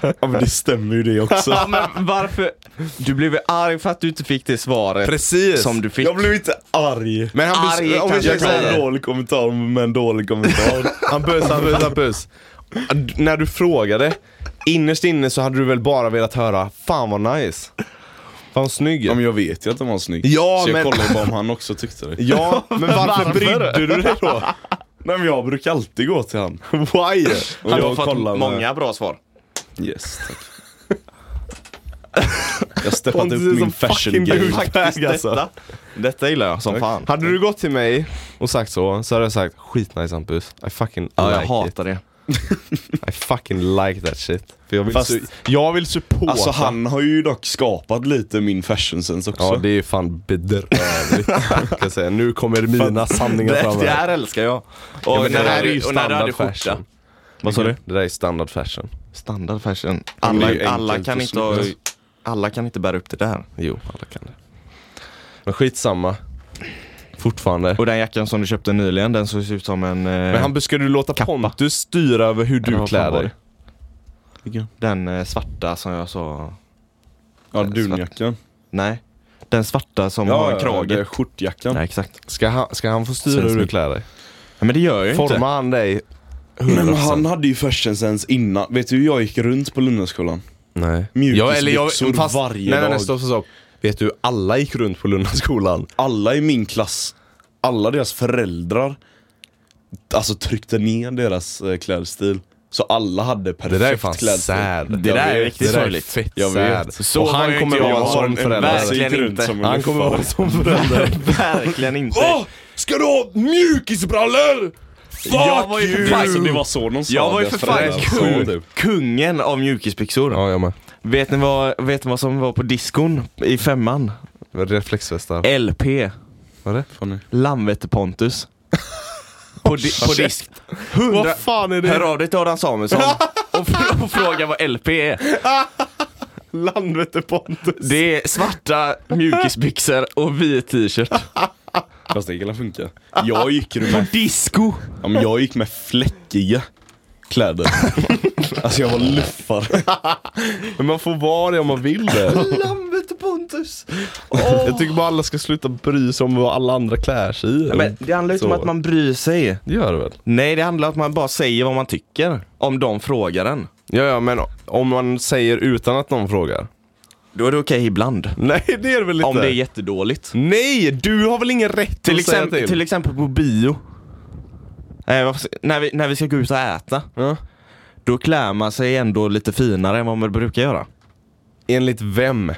[SPEAKER 4] Ja, men det stämmer ju det också.
[SPEAKER 3] Ja, men varför? Du blev arg för att du inte fick det svaret
[SPEAKER 1] Precis!
[SPEAKER 3] som du fick.
[SPEAKER 4] Jag blev inte arg.
[SPEAKER 1] Men han
[SPEAKER 3] Arg
[SPEAKER 1] bes- om vi
[SPEAKER 3] kanske.
[SPEAKER 1] säger
[SPEAKER 4] Jag
[SPEAKER 1] så
[SPEAKER 4] kan
[SPEAKER 1] här-
[SPEAKER 4] ha en dålig kommentar med en dålig kommentar.
[SPEAKER 1] Hampus, Hampus, Hampus. D- När du frågade, innerst inne så hade du väl bara velat höra 'Fan vad nice' Fan snygg.
[SPEAKER 4] Ja, men jag vet ju att han var snygg.
[SPEAKER 1] Ja,
[SPEAKER 4] så jag
[SPEAKER 1] men-
[SPEAKER 4] kollade ju bara om han också tyckte det.
[SPEAKER 1] Ja, men varför brydde
[SPEAKER 4] Brydde du dig då? Nej men jag brukar alltid gå till han.
[SPEAKER 1] Why?
[SPEAKER 4] Och
[SPEAKER 3] Han har
[SPEAKER 4] jag
[SPEAKER 3] fått
[SPEAKER 4] kollar med-
[SPEAKER 3] många bra svar.
[SPEAKER 4] Yes, tack. jag har steppat
[SPEAKER 1] Pontus
[SPEAKER 4] upp
[SPEAKER 1] är som
[SPEAKER 4] min fashion
[SPEAKER 1] fucking
[SPEAKER 4] game.
[SPEAKER 1] douchebag,
[SPEAKER 4] Faktiskt
[SPEAKER 1] alltså.
[SPEAKER 4] detta.
[SPEAKER 3] Detta gillar jag som fan.
[SPEAKER 1] Hade du gått till mig och sagt så, så hade jag sagt skitnice Hampus. I fucking
[SPEAKER 3] Ja, jag
[SPEAKER 1] like it.
[SPEAKER 3] hatar det.
[SPEAKER 1] I fucking like that shit. För jag vill,
[SPEAKER 4] Fast-
[SPEAKER 1] su- jag vill supporta.
[SPEAKER 4] Alltså han har ju dock skapat lite min fashion sense också.
[SPEAKER 3] Alltså.
[SPEAKER 1] Ja det är fan bedrövligt. kan jag säga. Nu kommer mina sanningar fram.
[SPEAKER 3] Det, det
[SPEAKER 1] här.
[SPEAKER 3] här älskar jag. Och,
[SPEAKER 1] men det
[SPEAKER 3] när,
[SPEAKER 1] här
[SPEAKER 3] du-
[SPEAKER 1] är ju
[SPEAKER 3] och när du hade
[SPEAKER 1] standard
[SPEAKER 3] skjorta.
[SPEAKER 1] fashion.
[SPEAKER 3] Vad sa du?
[SPEAKER 1] Det där är standard fashion.
[SPEAKER 3] Standard fashion.
[SPEAKER 4] det är
[SPEAKER 3] Alla,
[SPEAKER 4] ju
[SPEAKER 3] alla,
[SPEAKER 4] enkelt
[SPEAKER 3] kan
[SPEAKER 4] och
[SPEAKER 3] inte ha, alla kan inte bära upp det där.
[SPEAKER 1] Jo, alla kan det. Men skitsamma. Fortfarande.
[SPEAKER 3] Och den jackan som du köpte nyligen, den såg ut som en... eh,
[SPEAKER 1] Men han ska du låta Pontus styra över hur
[SPEAKER 3] Eller
[SPEAKER 1] du
[SPEAKER 3] vad fan
[SPEAKER 1] klär
[SPEAKER 3] var
[SPEAKER 1] dig?
[SPEAKER 3] Den eh, svarta som jag sa...
[SPEAKER 4] Ja, dunjackan.
[SPEAKER 3] Nej. Den svarta som har en krage.
[SPEAKER 4] det är Skjortjackan.
[SPEAKER 3] Nej, exakt.
[SPEAKER 1] Ska han, ska han få styra
[SPEAKER 3] Syns
[SPEAKER 1] hur du
[SPEAKER 3] mycket.
[SPEAKER 1] klär dig?
[SPEAKER 3] Ja, men det gör jag ju inte.
[SPEAKER 1] Formar han dig 100%?
[SPEAKER 4] Men han hade ju fashion sense innan. Vet du hur jag gick runt på Lundaskolan?
[SPEAKER 1] Nej.
[SPEAKER 4] Mjukisbyxor varje
[SPEAKER 1] nej, nej, nej,
[SPEAKER 4] dag.
[SPEAKER 1] stopp, stopp, stopp. Vet du, alla gick runt på Lundaskolan.
[SPEAKER 4] Alla i min klass, alla deras föräldrar, alltså tryckte ner deras eh, klädstil. Så alla hade
[SPEAKER 1] Det
[SPEAKER 4] perfekt
[SPEAKER 1] där är fan
[SPEAKER 4] klädstil.
[SPEAKER 1] sad.
[SPEAKER 3] Det där
[SPEAKER 4] Jag
[SPEAKER 3] är
[SPEAKER 4] vet,
[SPEAKER 3] riktigt
[SPEAKER 1] det där är
[SPEAKER 3] sorgligt.
[SPEAKER 1] fett
[SPEAKER 4] Jag
[SPEAKER 1] sad.
[SPEAKER 4] vet.
[SPEAKER 1] Så han
[SPEAKER 3] ju
[SPEAKER 1] kommer
[SPEAKER 3] inte
[SPEAKER 1] vara
[SPEAKER 3] jag.
[SPEAKER 1] en sån
[SPEAKER 3] En
[SPEAKER 1] förälder. Alltså,
[SPEAKER 3] Verkligen
[SPEAKER 4] Gick runt
[SPEAKER 3] inte.
[SPEAKER 4] som en
[SPEAKER 1] Han kommer vara en sån förälder.
[SPEAKER 3] Verkligen inte.
[SPEAKER 1] Åh! Ska du ha mjukisbrallor? Fuck
[SPEAKER 3] Jag var ju för
[SPEAKER 1] you!
[SPEAKER 3] fan-
[SPEAKER 4] Alltså, det var så de sa.
[SPEAKER 3] Jag var ju
[SPEAKER 4] deras
[SPEAKER 3] för fan
[SPEAKER 4] föräldrar typ. sa det.
[SPEAKER 3] kung, kungen av mjukisbyxor.
[SPEAKER 1] typ. Ja, jag med.
[SPEAKER 3] Vet, ni vad, vet ni vad som var på diskon i femman?
[SPEAKER 1] Reflexvästar.
[SPEAKER 3] LP.
[SPEAKER 1] Vad är det?
[SPEAKER 3] Landvetter-Pontus. På, di på disk.
[SPEAKER 1] Vad fan är
[SPEAKER 3] Hör av dig till Adam Samuelsson och, fr- och fråga vad LP är.
[SPEAKER 1] Landvetter-Pontus.
[SPEAKER 3] Det är svarta mjukisbyxor och vit t-shirt.
[SPEAKER 4] Fast det kan funka. Jag gick, ju med,
[SPEAKER 3] Disco!
[SPEAKER 4] ja, men jag gick med fläckiga kläder. Alltså jag var luffar.
[SPEAKER 1] Men man får vara det om man vill det.
[SPEAKER 3] Landvetter-Pontus!
[SPEAKER 1] Jag tycker bara alla ska sluta bry sig om vad alla andra klär sig i.
[SPEAKER 3] Men det handlar ju inte om
[SPEAKER 1] Så.
[SPEAKER 3] att man bryr sig.
[SPEAKER 1] Det gör det väl?
[SPEAKER 3] Nej, det handlar om att man bara säger vad man tycker. Om de frågar en.
[SPEAKER 1] Ja, ja, men om man säger utan att någon frågar.
[SPEAKER 3] Då är det okej ibland.
[SPEAKER 1] Nej, det är det väl inte?
[SPEAKER 3] Om det är jättedåligt.
[SPEAKER 1] Nej, du har väl ingen rätt
[SPEAKER 3] Till,
[SPEAKER 1] att säga
[SPEAKER 3] exempel,
[SPEAKER 1] till?
[SPEAKER 3] till exempel på bio. Eh, varför- när, vi, när vi ska gå ut och äta.
[SPEAKER 1] Ja.
[SPEAKER 3] Då klär man sig ändå lite finare än vad man brukar göra.
[SPEAKER 1] Enligt vem?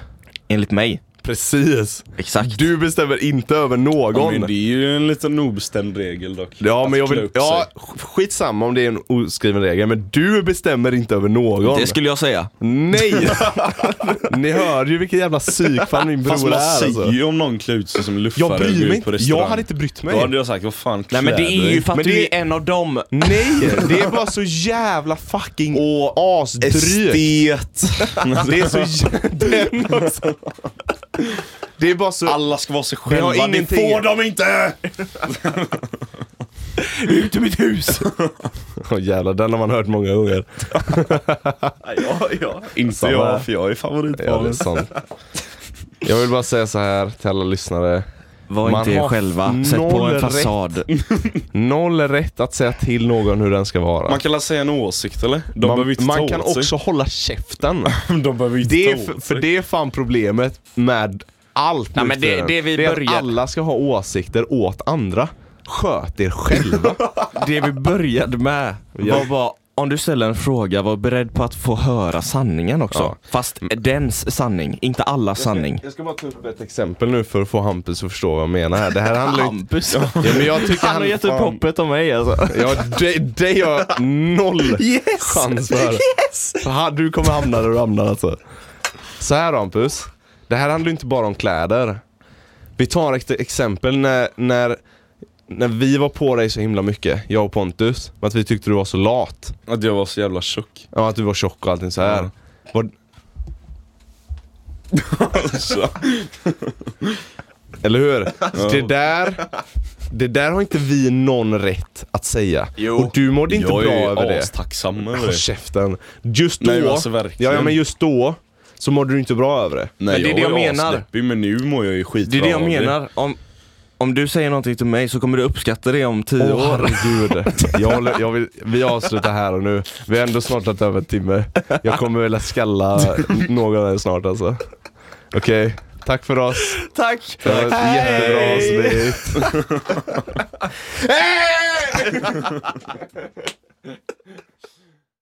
[SPEAKER 3] Enligt mig.
[SPEAKER 1] Precis.
[SPEAKER 3] Exakt.
[SPEAKER 1] Du bestämmer inte över någon.
[SPEAKER 4] Men det är ju en liten obestämd regel dock.
[SPEAKER 1] Ja, men jag
[SPEAKER 4] Att
[SPEAKER 3] Alltså,
[SPEAKER 4] klä
[SPEAKER 1] vill...
[SPEAKER 4] upp
[SPEAKER 1] Ja,
[SPEAKER 4] sig.
[SPEAKER 1] sk- skitsamma om det är en oskriven regel, men du bestämmer inte över någon.
[SPEAKER 3] Det skulle jag säga.
[SPEAKER 1] Nej! Ni hör ju vilket jävla psykfall min
[SPEAKER 4] Fast
[SPEAKER 1] bror är
[SPEAKER 4] man säger
[SPEAKER 1] alltså.
[SPEAKER 4] ju om någon klär ut sig som luffare
[SPEAKER 1] Jag bryr
[SPEAKER 4] och går
[SPEAKER 1] mig
[SPEAKER 4] ut
[SPEAKER 1] inte.
[SPEAKER 4] på
[SPEAKER 1] Jag
[SPEAKER 4] restaurang.
[SPEAKER 1] hade inte brytt mig.
[SPEAKER 4] Då hade jag sagt, vad fan
[SPEAKER 3] Nej men det är ju för att
[SPEAKER 1] Men
[SPEAKER 3] du
[SPEAKER 1] det-
[SPEAKER 3] är en av dem.
[SPEAKER 1] Nej, det är bara så jävla fucking asdrygt.
[SPEAKER 4] Estet.
[SPEAKER 1] Det är så jä- Den också. Det är bara så...
[SPEAKER 4] Alla ska vara sig själva,
[SPEAKER 1] har
[SPEAKER 4] det
[SPEAKER 1] ingenting-
[SPEAKER 4] får de inte!
[SPEAKER 3] Ut ur mitt hus!
[SPEAKER 1] Åh jävlar, den har man hört många gånger.
[SPEAKER 4] Ja, ja. Inte
[SPEAKER 1] Samma här.
[SPEAKER 4] jag, för jag
[SPEAKER 1] Ja,
[SPEAKER 4] är
[SPEAKER 1] det är
[SPEAKER 4] favoritbarnet.
[SPEAKER 1] sant. Jag vill bara säga så här till alla lyssnare.
[SPEAKER 3] Var
[SPEAKER 1] Man
[SPEAKER 3] inte er
[SPEAKER 1] har
[SPEAKER 3] själva. Sätt på
[SPEAKER 1] noll
[SPEAKER 3] en
[SPEAKER 1] rätt.
[SPEAKER 3] fasad.
[SPEAKER 1] Noll rätt att säga till någon hur den ska vara.
[SPEAKER 4] Man kan väl säga en åsikt eller? De
[SPEAKER 1] Man-
[SPEAKER 4] behöver inte
[SPEAKER 1] man
[SPEAKER 4] ta
[SPEAKER 1] kan
[SPEAKER 4] åt sig.
[SPEAKER 1] också hålla käften.
[SPEAKER 4] De behöver inte
[SPEAKER 1] Det är
[SPEAKER 4] ta
[SPEAKER 1] för,
[SPEAKER 4] åt
[SPEAKER 1] för
[SPEAKER 4] sig.
[SPEAKER 1] det är fan problemet med allt
[SPEAKER 3] Nej,
[SPEAKER 1] nu
[SPEAKER 3] men
[SPEAKER 1] för
[SPEAKER 3] det-
[SPEAKER 1] tiden.
[SPEAKER 3] det vi
[SPEAKER 1] är att
[SPEAKER 3] börjar-
[SPEAKER 1] alla ska ha åsikter åt andra. Sköt er själva.
[SPEAKER 3] Det vi började med var bara om du ställer en fråga, var beredd på att få höra sanningen också.
[SPEAKER 1] Ja.
[SPEAKER 3] Fast dens sanning, inte allas sanning.
[SPEAKER 1] Jag ska bara ta upp ett exempel nu för att få Hampus att förstå vad jag menar här. Det här handlar ju inte...
[SPEAKER 3] Hampus.
[SPEAKER 1] Ja, men jag tycker
[SPEAKER 3] Han har gett upp
[SPEAKER 1] fan-
[SPEAKER 3] hoppet om mig alltså.
[SPEAKER 1] Ja, det, det gör noll chans för. Yes! Du kommer hamna där du hamnar alltså. Så här då, Hampus. Det här handlar ju inte bara om kläder. Vi tar ett exempel när, när, när vi var på dig så himla mycket, jag och Pontus, med att vi tyckte du var så lat.
[SPEAKER 4] Att jag var så jävla tjock.
[SPEAKER 1] Ja, att du var tjock och allting så här.
[SPEAKER 4] Ja.
[SPEAKER 1] Var...
[SPEAKER 4] Så.
[SPEAKER 1] Eller hur? Det där Det där har inte vi någon rätt att säga.
[SPEAKER 3] Jo.
[SPEAKER 1] Och du mådde inte
[SPEAKER 4] Jag
[SPEAKER 1] bra
[SPEAKER 4] är
[SPEAKER 1] över
[SPEAKER 4] ju
[SPEAKER 1] det.
[SPEAKER 4] astacksam över
[SPEAKER 1] Håll
[SPEAKER 4] det.
[SPEAKER 1] käften. Just då,
[SPEAKER 4] Nej, men alltså verkligen.
[SPEAKER 1] ja, ja, men just då så mådde du inte bra över det.
[SPEAKER 4] Nej,
[SPEAKER 3] Men det är det jag
[SPEAKER 4] var ju
[SPEAKER 3] menar.
[SPEAKER 4] asdeppig, Men nu mår jag ju skitbra
[SPEAKER 3] Det är det jag
[SPEAKER 4] av
[SPEAKER 3] menar. Om, om du säger någonting till mig så kommer du uppskatta det om tio
[SPEAKER 1] Åh
[SPEAKER 3] år.
[SPEAKER 1] herregud. Jag håller, jag vill, vi avslutar här och nu. Vi har ändå snart tagit över en timme. Jag kommer vilja skalla någon här snart alltså. Okej, tack för oss.
[SPEAKER 3] Tack!
[SPEAKER 1] Det var ett jättebra avsnitt.
[SPEAKER 3] Hej!